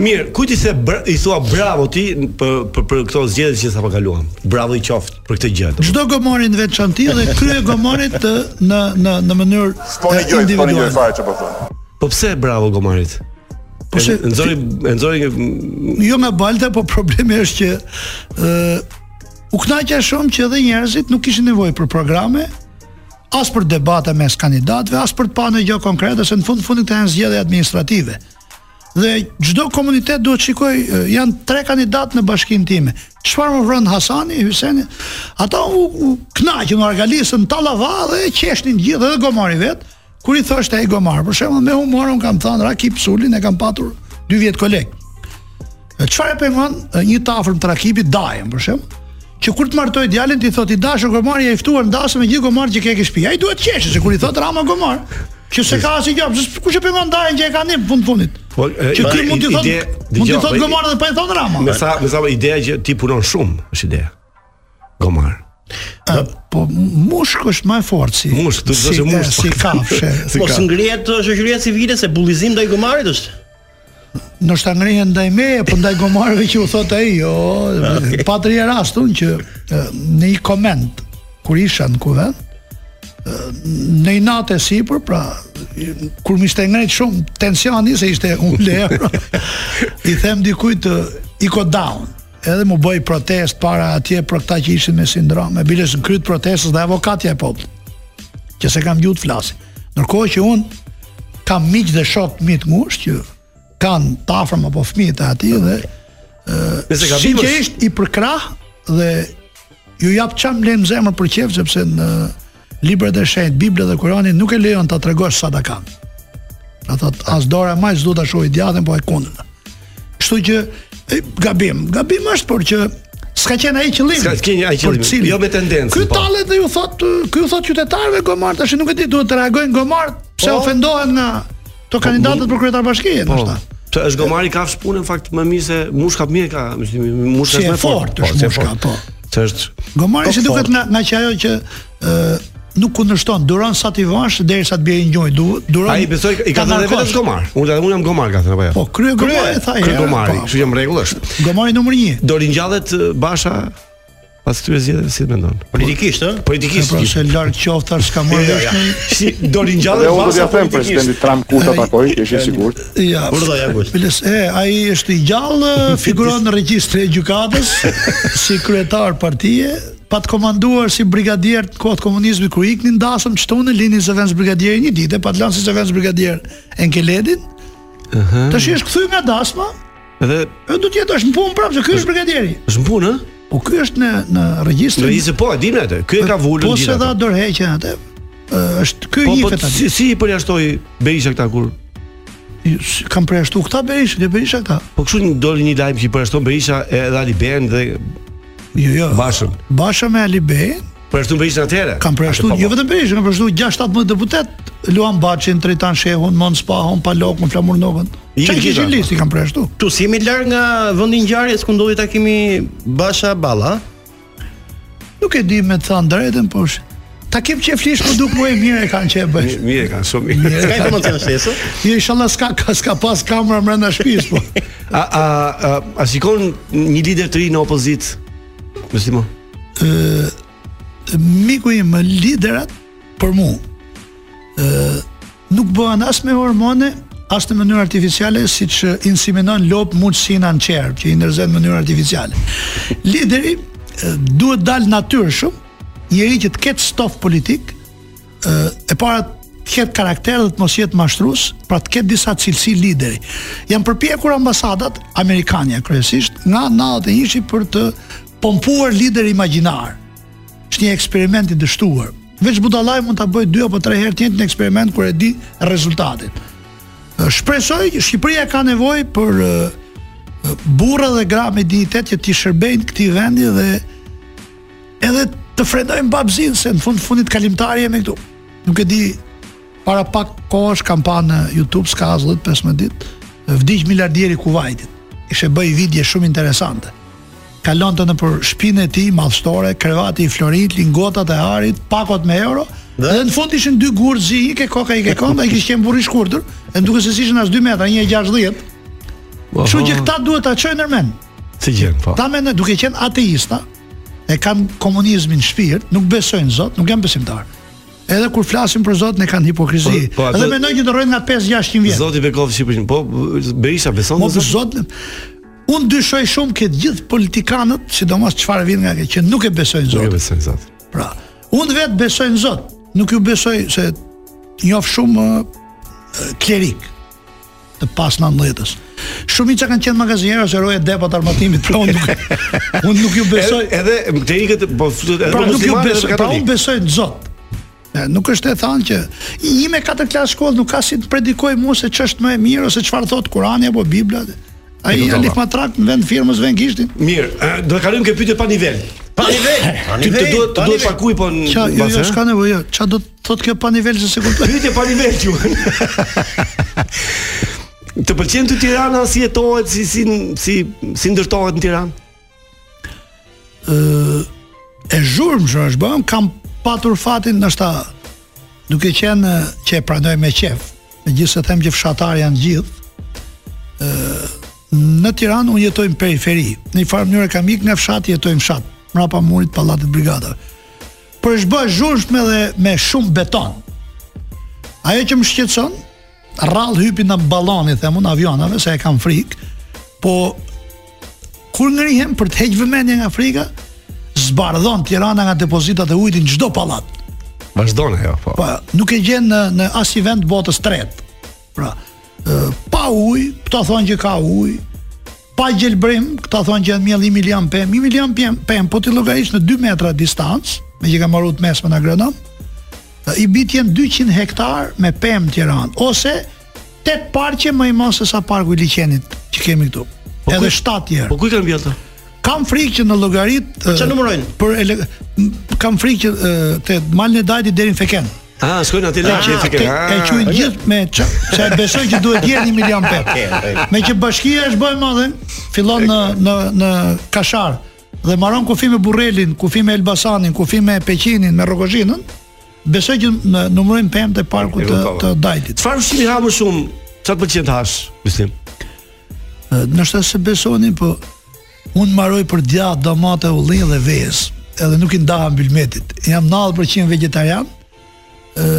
Speaker 7: Mirë, kujt i the bra- i thua bravo ti n- për për, për këto zgjedhje që sapo kaluam. Bravo i qoftë për këtë gjë.
Speaker 15: Çdo gomorin veçanti dhe krye gomorit të, në në në mënyrë ë, individuale.
Speaker 7: çfarë po thon. Po pse bravo Gomarit? Po se nxori nxori
Speaker 15: jo nga balta, po problemi është që ë u kënaqja shumë që edhe njerëzit nuk kishin nevojë për programe, as për debate mes kandidatëve, as për të pa në gjë konkrete, se në fund fundin këta janë zgjedhje administrative. Dhe çdo komunitet duhet shikoj, ë, janë tre kandidatë në bashkinë time. Çfarë më vron Hasani, Hyseni? Ata u, u kënaqën organizën tallava dhe e qeshnin gjithë edhe Gomari vet. Kur i thoshte ai Gomar, për shembull me humor un kam thënë Rakip Sulin e kam patur 2 vjet koleg. E Çfarë e pengon e, një të afërm të rakipit dajën për shemb, që kur të martoj djalin ti thotë i dashur Gomar ja i ftuar ndasëm me gjithë Gomar që ke ke shtëpi. Ai duhet të qeshë se kur i thot Rama Gomar, që se ka asnjë gjë, pse- kush e pengon dajën që e ka në fund fundit.
Speaker 7: Po
Speaker 15: Që ky mund t'i thotë mund t'i thotë Gomar dhe pa i thonë Rama.
Speaker 7: Me sa me sa ideja që ti punon shumë, është ideja. Gomar.
Speaker 15: A, po mushk është më e fortë si.
Speaker 7: Mushk, duhet të
Speaker 15: si-
Speaker 7: thoshë mushk.
Speaker 15: Si kafshë.
Speaker 9: Mos ngrihet ë, shoqëria civile se bullizim ndaj gomarit është.
Speaker 15: Po, Nështë angrihen ndaj meje, po ndaj gomarëve që u thot ai, jo, pa të rje rastun që e, në një koment, kur isha në kuvent, e, në një natë e sipër, pra, i- kur më ishte ngrejt shumë, tensioni se ishte unë lehër, i them dikujt e, i ko down, edhe mu bëj protest para atje për këta që ishin me sindrom, e biles në kryt protestës dhe avokatja e popullit që se kam gjutë flasin. Ndërkohë që unë kam miq dhe shok mi të ngushtë që kanë të afërm apo fëmijët e atij dhe
Speaker 7: Nëse
Speaker 15: ë
Speaker 7: gabimesh-
Speaker 15: sinqerisht i përkrah dhe ju jap çam lem zemër për qejf sepse në librat e shenjtë, Bibla dhe Kurani nuk e lejon ta tregosh sa ta kanë. Ata thot, as dora e majs do ta shohë djatën po e kundën. Kështu që e, gabim, gabim është por që s'ka qenë ai qëllimi.
Speaker 7: S'ka qenë ai
Speaker 15: për
Speaker 7: qëllimi,
Speaker 15: cilin.
Speaker 7: jo me tendencën,
Speaker 15: Ky
Speaker 7: po.
Speaker 15: tallet dhe ju thot, ë, ky u thot qytetarëve gomar tash nuk e di duhet të reagojnë gomar pse
Speaker 7: Po.
Speaker 15: ofendohen nga to kandidatët për kryetar bashkie,
Speaker 7: Po.
Speaker 15: ndoshta.
Speaker 7: Pse është Gomari ka punë në fakt më mirë se mushka mirë ka, mushka mushka
Speaker 15: Si
Speaker 7: është
Speaker 15: e
Speaker 7: më fort.
Speaker 15: fortë është
Speaker 7: si e
Speaker 15: mushka,
Speaker 7: fortë.
Speaker 15: po.
Speaker 7: Se është
Speaker 15: Gomari
Speaker 7: Po,
Speaker 15: si duket
Speaker 7: fort.
Speaker 15: nga nga që ajo që ë nuk kundërshton, duron sa ti vash derisa të bjerë një gjoj, du- duron.
Speaker 7: Ai besoj i ka
Speaker 15: ta
Speaker 7: thënë vetë
Speaker 15: Pra, narkosh.
Speaker 7: Gomar. Unë unë jam Gomar ka thënë apo jo?
Speaker 15: Po, krye Gomari tha ai,
Speaker 7: Krye
Speaker 15: ja,
Speaker 7: Gomari,
Speaker 15: po.
Speaker 7: kështu që në rregull është.
Speaker 15: Gomari numër 1.
Speaker 7: Do ringjallet eh, Basha pas këtyre zgjedhjeve si mendon?
Speaker 9: Politikisht, ë?
Speaker 7: Politikisht.
Speaker 15: Pra se larg qofta s'ka marrë
Speaker 7: Ja,
Speaker 15: vesh
Speaker 7: ja.
Speaker 15: në
Speaker 7: Si do ringjallet
Speaker 16: Dhe unë do
Speaker 7: Basha
Speaker 16: t'ja them
Speaker 7: politikisht.
Speaker 16: presidentit Trump kur ta takoj, që ishin sigurt.
Speaker 15: Ja.
Speaker 16: Kur do ja bësh?
Speaker 15: Biles, e, ai është i gjallë, figuron në regjistrin e gjykatës si kryetar partie, pa të komanduar si brigadier të kohët komunizmit kur iknin dasëm çtonë në linjë zëvendës brigadieri një ditë, pa të lanë si zëvendës brigadier Enkeledin.
Speaker 7: Aha.
Speaker 15: Tash i është kthyr nga dasma,
Speaker 7: Edhe
Speaker 15: e do të jetë është në punë prapë, se ky është brigadieri.
Speaker 7: është në punë, ë?
Speaker 15: Po ky është në në regjistrin.
Speaker 7: Në regjistër po, e dimë atë. Ky e ka vulur
Speaker 15: Po se
Speaker 7: gjithë
Speaker 15: dha
Speaker 7: ato.
Speaker 15: dorëheqjen atë. Ë, Është ky
Speaker 7: Po po
Speaker 15: jifet
Speaker 7: si
Speaker 15: atë.
Speaker 7: si i përjashtoi Berisha këta kur
Speaker 15: s- Kam përjashtu këta Berisha, dhe Berisha këta.
Speaker 7: Po kështu një doli një lajm që i përshton Berisha edhe Ali Ben dhe
Speaker 15: jo jo
Speaker 7: Bashën.
Speaker 15: Basha me Ali Bey
Speaker 7: Përshton Berishën atëherë.
Speaker 15: Kam përjashtu,
Speaker 7: po,
Speaker 15: jo vetëm Berisha, kam përjashtu 6-17 deputet, Luan Baçin, Tritan Shehun, Mon Spahun, Palokun, Flamur Nogën.
Speaker 9: Ikën
Speaker 15: Çka
Speaker 9: gjitha.
Speaker 15: kishin
Speaker 7: po.
Speaker 15: listi kam përjashtu.
Speaker 9: Tu si jemi larg nga vendi i ngjarjes ku ndodhi takimi Basha Balla,
Speaker 15: Nuk e di me të thënë drejtën, po sh- ta kem që flish më duk më e mirë e kanë që e bësh.
Speaker 7: Mirë kanë, shumë mirë.
Speaker 9: S'ka informacion shtesë?
Speaker 15: Jo, inshallah s'ka ka s'ka pas kamera brenda shtëpisë, po.
Speaker 7: A a a, a shikon një lider të ri në opozit? Mësimo.
Speaker 15: Ë miku im liderat për mua. Ë nuk bëhen as me hormone, as në mënyrë artificiale, siç e, inseminon lop mundsinë në qerp, që i ndërzen në mënyrë artificiale. Lideri ë, duhet dal natyrshëm, njëri që të ketë stof politik, ë e para të ketë karakter dhe të mos jetë mashtrues, pra të ketë disa cilësi lideri. Janë përpjekur ambasadat amerikane kryesisht nga 91-shi për të pompuar lider imagjinar. Është një eksperiment i dështuar. Veç budallaj mund ta bëj 2 apo 3 herë të njëjtin eksperiment kur e di rezultatin. Ë, Shpresoj që Shqipëria ka nevojë për ë, ë, burra dhe gra me dignitet që t'i shërbejnë këtij vendi dhe edhe të frenojmë babzin se në fund fundit kalimtari jemi këtu. Nuk e di para pak kohësh kam pa në YouTube s'ka as 10-15 ditë, vdiq miliardieri i Kuwaitit. Ishte bëj video shumë interesante. Kalonte në për shtëpinë e tij madhështore, krevati i Florit, lingotat e arit, pakot me euro, dhe, në fund ishin dy gurzi, i ke koka, i ke konda, i kishte qenë burri i shkurtër, e më duket se ishin as 2 metra, 1.60.
Speaker 9: Po,
Speaker 15: Kështu që këta duhet ta çojnë nërmen.
Speaker 7: Si gjen, po.
Speaker 15: Ta mendoj duke qenë ateista, e kanë komunizmin në shpirt, nuk besojnë në Zot, nuk janë besimtar. Edhe kur flasin për Zot ne kanë hipokrizi.
Speaker 7: Po, po, atë-
Speaker 15: Edhe mendojnë që do rrojnë nga 5-600 vjet.
Speaker 7: Zoti Bekov Shqipërinë, po Berisha beson
Speaker 15: Mo
Speaker 7: në
Speaker 15: për Zot. Unë dyshoj shumë këtë gjithë politikanët, sidomos çfarë vjen nga kjo që nuk e besojnë
Speaker 9: Jo,
Speaker 7: Nuk e
Speaker 15: Zot.
Speaker 7: besoj Zot.
Speaker 15: Pra, unë vetë besoj në Zot, nuk ju besoj se njoh shumë ë, klerik të pas 19-s. Shumica kanë qenë magazinjerë ose roje depot armatimit, pra unë nuk, unë nuk ju besoj.
Speaker 7: Edhe edhe klerikët po flutet edhe
Speaker 15: Pra nuk ju
Speaker 7: muslimanë, edhe
Speaker 15: besoj, pra
Speaker 7: katolikë.
Speaker 15: unë besoj në Zot. E, Nuk është e thënë që një me katër klasë shkollë nuk ka si të predikoj mua se ç'është më e mirë ose çfarë thot Kurani apo Bibla.
Speaker 7: E
Speaker 15: Ai
Speaker 7: kuptova.
Speaker 15: alif matrak në vend firmës vend gishtin.
Speaker 7: Mirë, eh, do të kalojmë ke pyetje pa nivel.
Speaker 9: Pa nivel, pa
Speaker 7: Ty të
Speaker 9: nivel,
Speaker 7: duhet të
Speaker 9: pa
Speaker 7: duhet
Speaker 9: nivel.
Speaker 7: pakuj po në
Speaker 15: Qa, jo,
Speaker 7: bazë,
Speaker 15: jo,
Speaker 7: eh?
Speaker 15: s'ka nevojë. jo. Qa do të thotë kjo pa nivel se se kuptoj?
Speaker 7: Pyetje pa nivel ju. Të pëlqen ty Tirana si jetohet, si si si si ndërtohet në Tiranë?
Speaker 15: Ë, e zhurmë që është bëm, kam patur fatin ndoshta duke qenë ë, që e pranoj me qef. Megjithëse them që fshatar janë gjithë. ë në Tiranë unë jetoj në periferi. Në një farë mënyrë kam ikë nga fshati, jetoj në fshat, mrapa murit të pallatit brigadave. Por është bërë zhurmshme dhe me shumë beton. Ajo që më shqetëson, rrallë hypi në balloni, them unë avionave se e kam frikë, po kur ngrihem për të heqë vëmendje nga frika, zbardhon Tirana nga depozitat e ujit në çdo pallat.
Speaker 7: Vazhdon ajo, po.
Speaker 15: Pa, nuk e gjen në në as një vend botës tretë. Pra, ë, pa ujë, këta thonë që ka ujë. Pa gjelbrim, këta thonë që janë mjelli milion pem, një milion pem, pem po ti llogarish në 2 metra distancë, me që ka marrë të mesme në agronom, ë, i bitjen 200 hektar me pem Tiranë, ose 8 parqe më i mos se sa parku i liqenit që kemi këtu. edhe 7 herë.
Speaker 7: Po ku i kanë bjerë ato?
Speaker 15: Kam frikë që në llogarit
Speaker 9: Çfarë numërojnë?
Speaker 15: Për ele, m- kam frikë që ë, te malin e dajtit deri në Feken.
Speaker 7: Ah, shkojnë atë lagje
Speaker 15: Ah,
Speaker 7: e fikë.
Speaker 15: te- E quajnë gjithë me ç, se e besoj që duhet jeni 1 milion
Speaker 7: Okej, okej.
Speaker 15: pet. Me që bashkia është bëjmë madhe, fillon në në në Kashar dhe maron kufi me Burrelin, kufi me Elbasanin, kufi me Peqinin, me Rrogozhinën. Besoj që në numërojmë pemë të parkut të, të Dajtit.
Speaker 7: Çfarë ushqimi ha më shumë? Çfarë të pëlqen të hash? Muslim.
Speaker 15: Nështë se besoni, po unë maroj për djatë, domate, ullin dhe vezë, edhe nuk i ndaham bilmetit. Jam 90% vegetarian,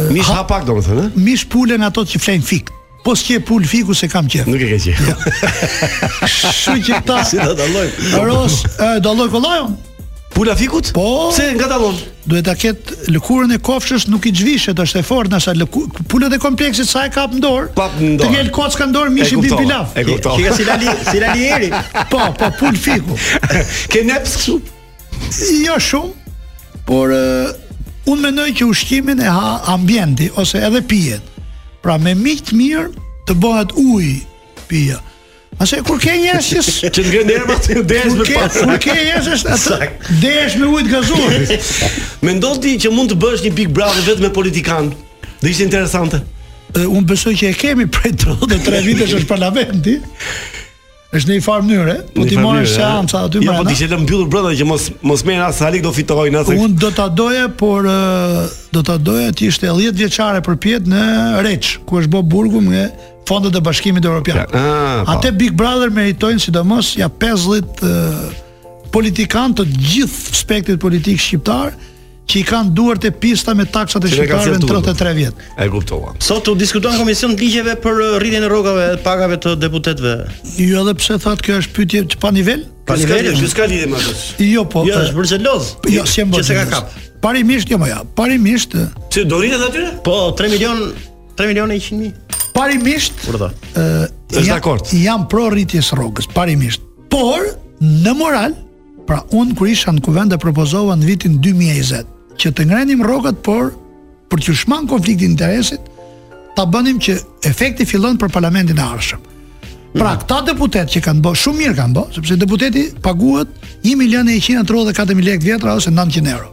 Speaker 7: Mish ha pak domethënë, ë?
Speaker 15: mish pulen ato që flejnë fik. Po s'ke pul fiku se kam qef.
Speaker 7: Nuk e ke qenë.
Speaker 15: Kështu që ta
Speaker 7: Si ta dallojmë?
Speaker 15: Ros, e dalloj kollajon.
Speaker 7: Pula fikut?
Speaker 15: Po.
Speaker 7: Se nga dallon?
Speaker 15: Duhet ta ketë lëkurën e kofshës nuk i zhvishet, është e fortë nësa lëku- pulët e kompleksit sa e kap në dorë.
Speaker 7: Kap në dorë.
Speaker 15: Të ngel kocka në dorë mishi
Speaker 7: E
Speaker 15: bi
Speaker 7: kuptova,
Speaker 15: pilaf.
Speaker 7: e kuptova. Që ka si lali- si lalieri.
Speaker 15: Po, po pul fiku.
Speaker 7: Ke neps kështu?
Speaker 15: Jo shumë, por uh, unë mendoj që ushqimin e ha ambienti ose edhe pijet. Pra me miq të mirë të bëhet ujë pija. Ase kur ke njerëz që s-
Speaker 14: Që të ngrenë ermat, desh me
Speaker 15: Kur ke-
Speaker 14: pas.
Speaker 15: Kur ke njerëz është atë.
Speaker 14: Sakt.
Speaker 15: Desh me ujë të gazuar.
Speaker 14: Mendon ti që mund të bësh një pikë bravo vetëm me politikan? Do ishte interesante.
Speaker 15: Un besoj që e kemi prej 33 vitesh është parlamenti. Është në një farë mënyrë, po ti marrësh seanca aty
Speaker 14: Ja,
Speaker 15: mbrenda.
Speaker 14: po ti që lë mbyllur brenda që mos mos merr as Halik do fitojnë as.
Speaker 15: Unë do ta doja, por ë, do ta doja ti ishte 10 vjeçare përpjet në Reç, ku është bë burgu me fondet e Bashkimit Evropian.
Speaker 14: Ah, po.
Speaker 15: Atë Big Brother meritojnë sidomos ja 50 ë, politikanë të gjithë spektrit politik shqiptar që i kanë duart e pista me taksat e
Speaker 9: Që ne kanë
Speaker 15: shqiptarëve në
Speaker 9: sjellë
Speaker 15: 33 vjet.
Speaker 14: E kuptova.
Speaker 9: Sot u diskuton komision të ligjeve për uh, rritjen e rrogave dhe pagave të deputetëve.
Speaker 15: Jo edhe pse thotë kjo është pyetje që pa nivel?
Speaker 9: Pa nivel, është.
Speaker 14: lidhje me atë.
Speaker 15: Jo, po.
Speaker 9: Jo,
Speaker 15: ë,
Speaker 9: është bërë xheloz.
Speaker 15: Jo, si e mbërë
Speaker 9: Që se ka
Speaker 15: xheloz.
Speaker 9: kap.
Speaker 15: Parimisht jo, më ja. Parimisht ë,
Speaker 14: Si do rritet aty?
Speaker 9: Po, 3 milion 3 milion e 100 mijë.
Speaker 15: parimisht
Speaker 9: Urdhë.
Speaker 15: Ë,
Speaker 9: Është
Speaker 15: jam-
Speaker 9: dakord.
Speaker 15: Jam pro rritjes rrogës, parimisht. Por në moral, pra unë kur isha në kuvent e propozova në vitin 2020 që të ngrenim rrogat, por për që shman konfliktin e interesit, ta bënim që efekti fillon për parlamentin e ardhshëm. Pra këta deputet që kanë bë, shumë mirë kanë bë, sepse deputeti paguhet 1.134.000 lekë të vjetra ose 900 euro.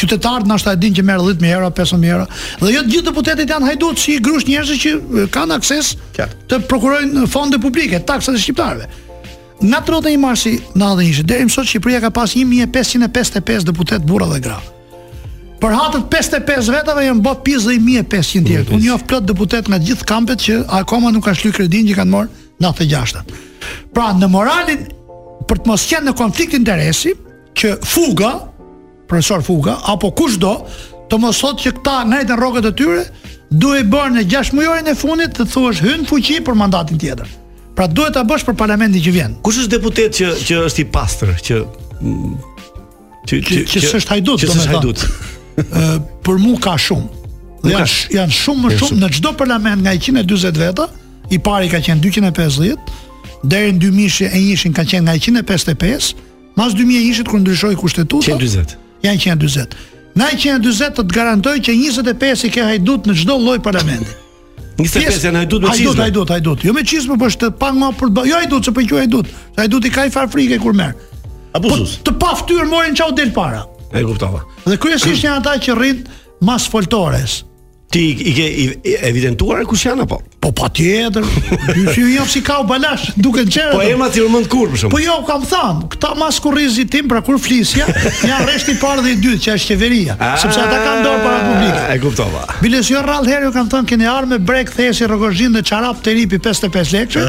Speaker 15: Qytetarët ndoshta e dinë që merr 10000 euro, 15000 euro. Dhe jo të gjithë deputetët janë hajdut si grush njerëz që e, kanë akses të prokurojnë fonde publike, taksat e shqiptarëve. Nga 31 marsi 91 deri më sot Shqipëria ka pas 1555 deputet burra dhe gra. Për hatët 55 vetave janë bë 50500 tjerë. Unë njoh plot deputet nga gjithë kampet që akoma nuk kanë shlyr kredin që kanë marrë 96-tat. Pra në moralin për të mos qenë në konflikt interesi që fuga profesor Fuga apo kushdo të mos thotë që këta ngritën rrogat e tyre, duhet bërë në 6 mujorin e fundit të thuash hyn në fuqi për mandatin tjetër. Pra duhet ta bësh për parlamentin që vjen.
Speaker 14: Kush është deputet që që është i pastër, që mm, që
Speaker 15: Që, që s'është hajdut,
Speaker 14: Që s'është
Speaker 15: domethënë.
Speaker 14: hajdut.
Speaker 15: Ë, për mua ka shumë. Dhe
Speaker 14: Nuk ka
Speaker 15: janë, sh- janë shumë më
Speaker 14: Janë
Speaker 15: shumë
Speaker 14: shumë.
Speaker 15: në çdo parlament nga 140 veta, i pari ka qenë 250, deri në 2001 ka qenë nga 155, mas 2001 kur ndryshoi kushtetuta
Speaker 14: 140.
Speaker 15: janë 140. Nga 140 të të garantoj që 25 i ke hajdut në çdo lloj parlamenti.
Speaker 14: 25 janë hajdut me
Speaker 15: Hajdut,
Speaker 14: çizme.
Speaker 15: hajdut, hajdut. Jo me çizme, po është pa nga për ba- jo hajdut, se po i quaj hajdut. Se Hajduti ka i far frikë kur merr.
Speaker 9: Abuzus.
Speaker 15: Po të pa fytyrë morin çau del para.
Speaker 14: E kuptova.
Speaker 15: Dhe kryesisht janë ata që rrin mas foltores.
Speaker 14: Ti i, i ke i, i evidentuar kush janë apo?
Speaker 15: Po patjetër. Ju ju jam si ka u balash, duken çera.
Speaker 14: Po emrat si Urmend Kur për shemb.
Speaker 15: Po jo, kam thënë, këta mas kurrizi tim pra kur flisja, janë rreshti i parë dhe i dytë që është qeveria, Po, sepse ata kanë dorë para publikut.
Speaker 14: Ah. E kuptova.
Speaker 15: Biles jo rrallë herë ju kam thënë keni armë brek thesi rrogozhin dhe çarap të ripi 55 lekë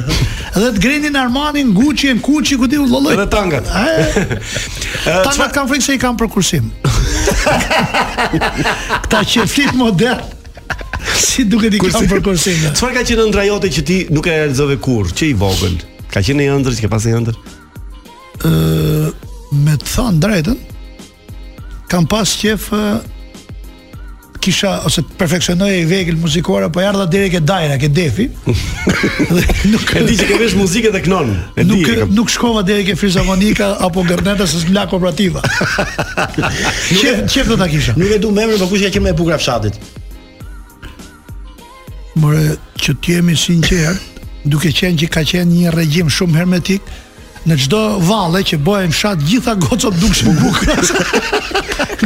Speaker 15: dhe të grinin Armanin, Gucci-n, Kuçi, ku di u llolloj.
Speaker 14: Edhe Eh, tangat.
Speaker 15: Tangat kanë frikë se i kanë për kursim. Këta që flit modern si duket i kanë për kursim. eh? da.
Speaker 14: Çfarë ka qenë ëndra jote që ti nuk e realizove kur, që i vogël? Ka qenë një ëndër që ke pasë një ëndër?
Speaker 15: Ë, me të thënë drejtën, kam pas qef ë, kisha ose perfeksionoja i vegël muzikore, po erdha deri ke Dajra, ke Defi. Dhe nuk
Speaker 14: E di që ke vesh muzikë dhe knon. E di.
Speaker 15: nuk
Speaker 14: e kam-
Speaker 15: nuk shkova deri ke Frizamonika apo Gërneta se s'mla kooperativa. Çe çe do ta kisha.
Speaker 9: Nuk e du me emrin, por kush ka qenë më e bukur e fshatit?
Speaker 15: More që të jemi sinqert, duke qenë që ka qenë një regjim shumë hermetik, në çdo valle që bëhem fshat gjitha gocat dukshin bukur.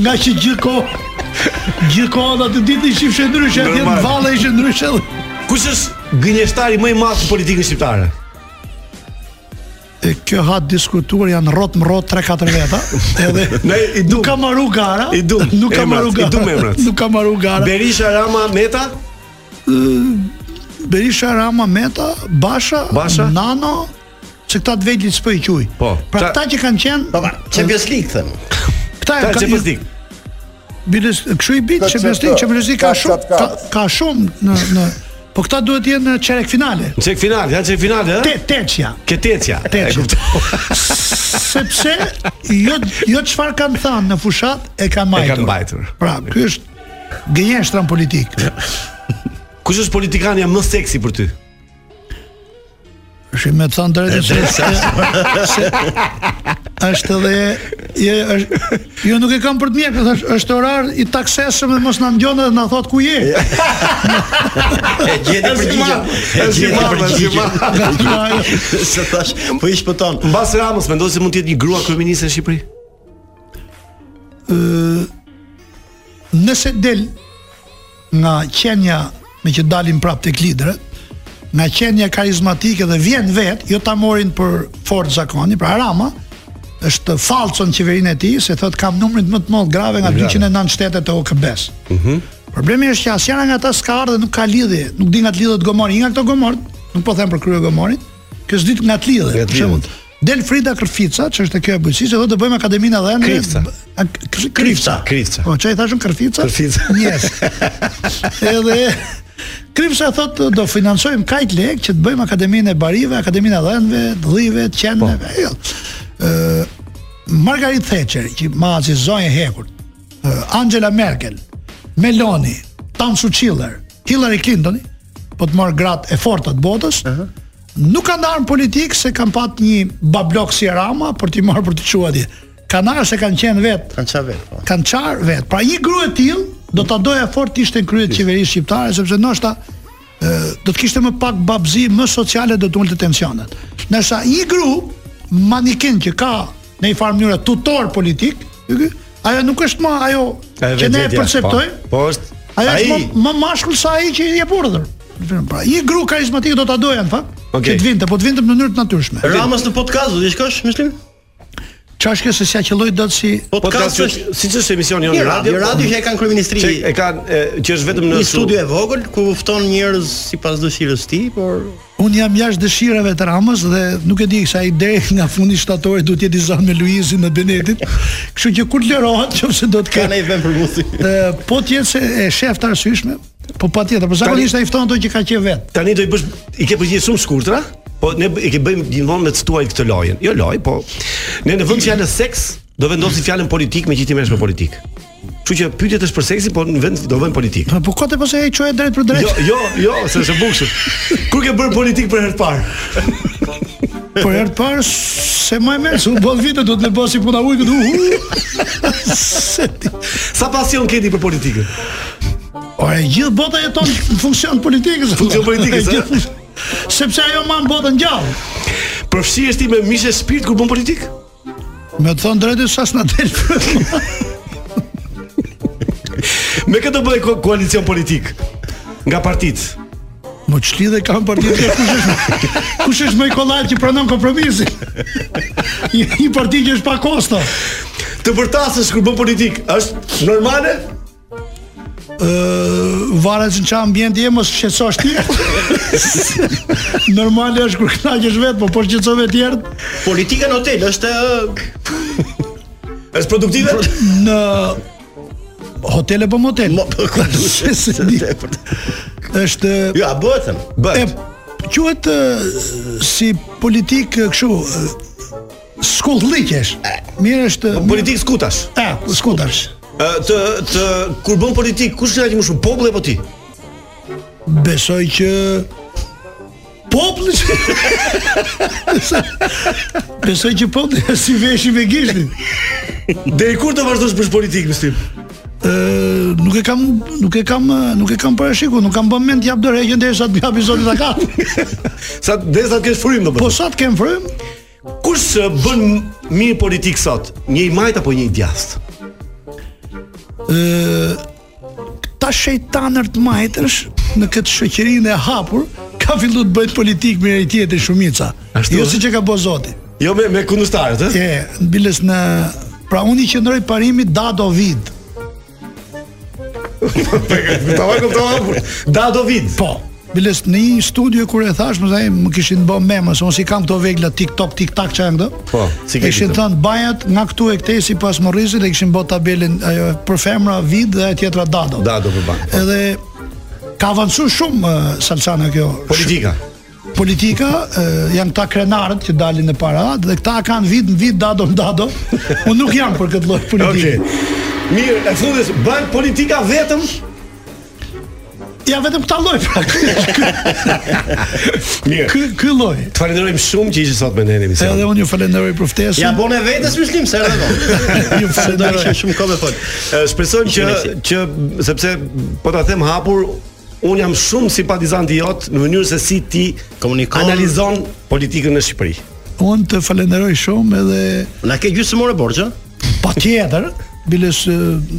Speaker 15: Nga që gjithkohë gjithkohë atë ditë ishim ndryshe, atje në
Speaker 14: Normal.
Speaker 15: valle ishte ndryshe.
Speaker 14: Kush është gënjeshtari më i madh në politikën shqiptare?
Speaker 15: E kjo ha diskutuar janë rrot më rrot 3-4 veta, edhe
Speaker 14: Ne i dum.
Speaker 15: nuk ka marru gara,
Speaker 14: I dum.
Speaker 15: nuk ka
Speaker 14: emrat,
Speaker 15: marru gara,
Speaker 14: I dum emrat.
Speaker 15: nuk ka marru gara.
Speaker 14: Berisha Rama Meta,
Speaker 15: Berisha, Rama, Meta, Basha,
Speaker 14: Basha?
Speaker 15: Nano, që këta të vegjlit s'po i quj.
Speaker 14: Po,
Speaker 15: Pra
Speaker 14: ta-
Speaker 15: këta që kanë qenë... Po,
Speaker 9: Champions League them.
Speaker 15: Këta
Speaker 14: ta
Speaker 15: ka-
Speaker 14: që pëstik.
Speaker 15: Biles, kështu i bit
Speaker 16: Ka
Speaker 15: Champions League,
Speaker 16: çfarë?
Speaker 15: Champions League ka
Speaker 16: Ka
Speaker 15: shumë
Speaker 16: çfarë?
Speaker 15: ka, ka shumë në në po këta duhet të jenë në çerek finale.
Speaker 14: Në çek finale, ja çek finale,
Speaker 15: Te
Speaker 14: ë?
Speaker 15: teçja.
Speaker 14: Ke tecja. E
Speaker 15: Teçja.
Speaker 14: kuptova.
Speaker 15: Sepse jo jo çfarë kanë thënë në fushat e
Speaker 14: E
Speaker 15: kanë mbajtur.
Speaker 14: kanë mbajtur.
Speaker 15: Pra, ky është gënjeshtra në politik.
Speaker 14: Kush është politikania më seksi për ty?
Speaker 15: Shi me të thënë drejtë se, se, është edhe je, është, jo nuk e kam për të mjekë, thash, është orar i taksesëm dhe mos na ngjon dhe na thot ku je.
Speaker 9: E gjeti përgjigjen. E gjeti
Speaker 15: Pra,
Speaker 9: përgjigjen. Se thash, po i shpëton.
Speaker 7: Mbas Ramës mendon se mund të jetë një grua kryeministe në Shqipëri?
Speaker 15: Ë nëse del nga qenja me që dalim prapë tek liderët, nga qenja karizmatike dhe vjen vet, jo ta morin për fort zakoni, pra Rama është falcon qeverinë e tij se thot kam numrin më të madh grave nga 209 shtetet e OKB-s. Mhm. Problemi është që asnjëra nga ata s'ka ardhe, nuk ka lidhje, nuk di nga të lidhet gomori, një nga këto gomorët, nuk po them për krye gomorin, kjo s'di nga të lidhet. Për shembull, Del Frida Kërfica, që është e kjo e bujqisë, do të bëjmë akademinë edhe në
Speaker 9: Krifca.
Speaker 15: A- Kr- Krifca.
Speaker 9: Krifca.
Speaker 15: Po, çai thashën Kërfica? Kërfica. Yes. Edhe Kripsa thot do financojmë kaq lek që të bëjmë akademinë e barive, akademinë e dhënëve, dhëllive, të qenëve. Jo. Ë Margaret Thatcher që ma azizoi e hekut. ë, Angela Merkel, Meloni, Tansu Çiller, Hillary Clinton, po të marr gratë e forta të botës. Nuk kanë ardhur në politikë se kanë pat një bablok si Rama për t'i marrë për të çuar atje. Kanë ardhur se kanë qenë vetë
Speaker 9: Kanë çave. po.
Speaker 15: kanë çar vet. Pra një grua e tillë do ta doja fort ishte në krye të qeverisë shqiptare sepse ndoshta ë, do të kishte më pak babzi, më sociale do të ulte tensionet. Ndërsa një gru manikin që ka në një farë mënyrë tutor politik, ky ky, ajo nuk është më ajo
Speaker 9: Ka e
Speaker 15: që ne e
Speaker 9: vetvetja,
Speaker 15: perceptojmë.
Speaker 9: po. Po është
Speaker 15: Ajo
Speaker 9: ai.
Speaker 15: është më, më mashkull sa ai që i jep urdhër. Pra, një gru karizmatik do ta doja në fakt,
Speaker 9: Okej.
Speaker 15: që të vinte, po të vinte në mënyrë të natyrshme.
Speaker 9: Ramës në podcast do të shkosh, Muslim?
Speaker 15: Çfarë është se s'ja qelloj dot si
Speaker 7: Podcast është siç është emisioni jonë
Speaker 9: Një
Speaker 7: në radio.
Speaker 9: radio- radio që e kanë kryeministrinë.
Speaker 7: Që e kanë e, që është vetëm në
Speaker 9: Një
Speaker 7: su-
Speaker 9: studio e vogël ku fton njerëz sipas dëshirës së tij, por
Speaker 15: Un jam jashtë dëshirave të Ramës dhe nuk e di se ai deri nga fundi shtatorit duhet jetë i zënë me Luizin dhe Benetit. Kështu që kur të lërohet, nëse do të
Speaker 9: ka ne
Speaker 15: ketë.
Speaker 9: i vend për musi.
Speaker 15: Ë, po të jetë se e shef të arsyeshme, po patjetër, por zakonisht ai fton ato që ka qenë vet.
Speaker 7: Tani do i bësh i ke përgjigje shumë shkurtra, po ne b- i ke bëjmë gjithmonë me të tuaj këtë lojën. Jo loj, po ne në vend të fjalës seks do vendosim fjalën politik me që ti mësh me politik. Kështu që pyetjet është për seksin, po në vend do vëmë politik.
Speaker 15: Po kote po se ai çohet drejt për drejt.
Speaker 7: Jo, jo, jo, se është e bukshëm. Kur ke bërë politik për herë të parë?
Speaker 15: Por Po herë të parë se më e merr, se u bën vite do të më bosi puna ujë këtu. hu. Se ti-
Speaker 7: Sa pasion ke ti për politikën?
Speaker 15: Ore, gjithë bota jeton në funksion politikës.
Speaker 7: Funksion politikës, a?
Speaker 15: Gjithë- Sepse ajo mban botën gjallë.
Speaker 7: Përfshihesh ti me mishe shpirt kur bën politik?
Speaker 15: Me të thënë drejtë sa s'na del.
Speaker 7: Me këtë do bëj ko- koalicion politik nga partitë.
Speaker 15: Më çli dhe kam partitë që kush është kush është më i kollaj që pranon kompromisin. Një, një parti që është pa kosto.
Speaker 7: Të përtasësh kur bën politik, është normale?
Speaker 15: Ë varet se në çfarë ambienti je mos shqetësosh ti. Normale është kur kënaqesh vetë, po po shqetësove të tjerë.
Speaker 9: Politika në hotel është
Speaker 7: Është produktive?
Speaker 15: Në hotel apo motel?
Speaker 9: mo po ku
Speaker 15: Se se di. Është
Speaker 9: Jo, a bëhet?
Speaker 15: e
Speaker 7: Bëhet.
Speaker 15: quhet ë, si politik ë, kështu ë, skullëllikesh. Mirë është
Speaker 9: Po,
Speaker 7: Politik skutash.
Speaker 15: Ah, skudash.
Speaker 7: Ë, të të kur bën politik, kush kënaqet më shumë, populli apo ti?
Speaker 15: Besoj që populli Besoj që populli është si veshin me gishtin.
Speaker 7: Deri kur të vazhdosh bësh politik me stim?
Speaker 15: Ë, nuk e kam nuk e kam ë, nuk e kam parashikuar, nuk kam bën mend jap dorë që derisa të japi zoti ta ka.
Speaker 7: Sa derisa të kesh frym
Speaker 15: Po
Speaker 7: domethënë.
Speaker 15: sot kem frym,
Speaker 7: Kush ë, bën m- mirë politik sot? Një i majt apo një i djathtë?
Speaker 15: ë ta shejtanër të majtësh në këtë shoqërinë e hapur ka filluar të bëjnë politik me njëri tjetrin shumica.
Speaker 7: Ashtu,
Speaker 15: jo
Speaker 7: ë?
Speaker 15: siç e ka bërë zoti.
Speaker 7: Jo me me kundërshtarët, ë?
Speaker 15: E, në biles në Pra unë i qëndroj parimit Dado Vid
Speaker 7: Kuptova, kuptova. Da do vid.
Speaker 15: Po, biles në një studio kur e thash Më thaj, më kishin bë meme Se unë si kam këto vegla tiktok, tiktak që janë këto
Speaker 7: Po, si ke
Speaker 15: Kishin
Speaker 7: ditë?
Speaker 15: thënë bajat nga këtu e këtej si pas Morrisit E kishin bë tabelin ajo, për femra Vid dhe e tjetra Dado
Speaker 7: Da do për bank. po.
Speaker 15: Edhe ka avancu shumë uh, Salsana kjo
Speaker 7: Politika.
Speaker 15: politika e, janë këta krenarët që dalin në parat dhe këta kanë vit në vit dado në dado. Unë nuk jam për këtë lloj politike.
Speaker 7: Okej. Mirë, e fundit bën politika vetëm?
Speaker 15: Ja vetëm këta lloj pra.
Speaker 7: Mirë.
Speaker 15: Ky ky lloj.
Speaker 7: Të falenderojmë shumë që ishe sot me ne në emision.
Speaker 15: Edhe unë ju falenderoj për ftesën.
Speaker 9: Ja bone vetes myslim se erdhe vonë. Se do
Speaker 15: Ju falenderoj.
Speaker 9: ishim shumë kohë me fol.
Speaker 7: E, Shpresojmë që që sepse po ta them hapur, un jam shumë simpatizant i jot në mënyrë se si ti komunikon, analizon politikën në Shqipëri.
Speaker 15: Unë të falenderoj shumë edhe
Speaker 9: Na ke gjysmore borxha?
Speaker 15: patjetër, biles ë,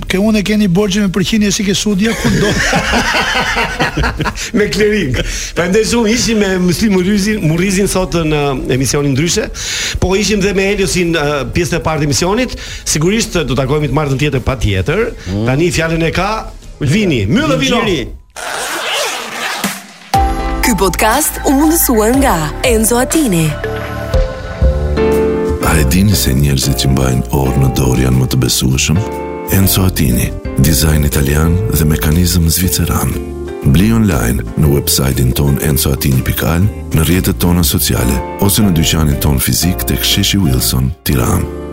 Speaker 15: ke unë e keni borxhin me përqindje si ke Sudia kudo.
Speaker 7: me Klerik. Prandaj shumë ishim me Muslim Murrizin, Murrizin sot në emisionin ndryshe, po ishim dhe me Heliosin uh, pjesën e parë të emisionit. Sigurisht uh, do takohemi të martën tjetër patjetër. Tani fjalën e ka Vini, myllë vino.
Speaker 3: Ky podcast u mundësua nga Enzo Attini.
Speaker 2: A e dini se njerëzit që mbajnë orë në dorë janë më të besueshëm? Enzo Attini, dizajn italian dhe mekanizëm zviceran. Bli online në websajtin ton enzoatini.al, në rjetët tona sociale, ose në dyqanin ton fizik të ksheshi Wilson, tiran.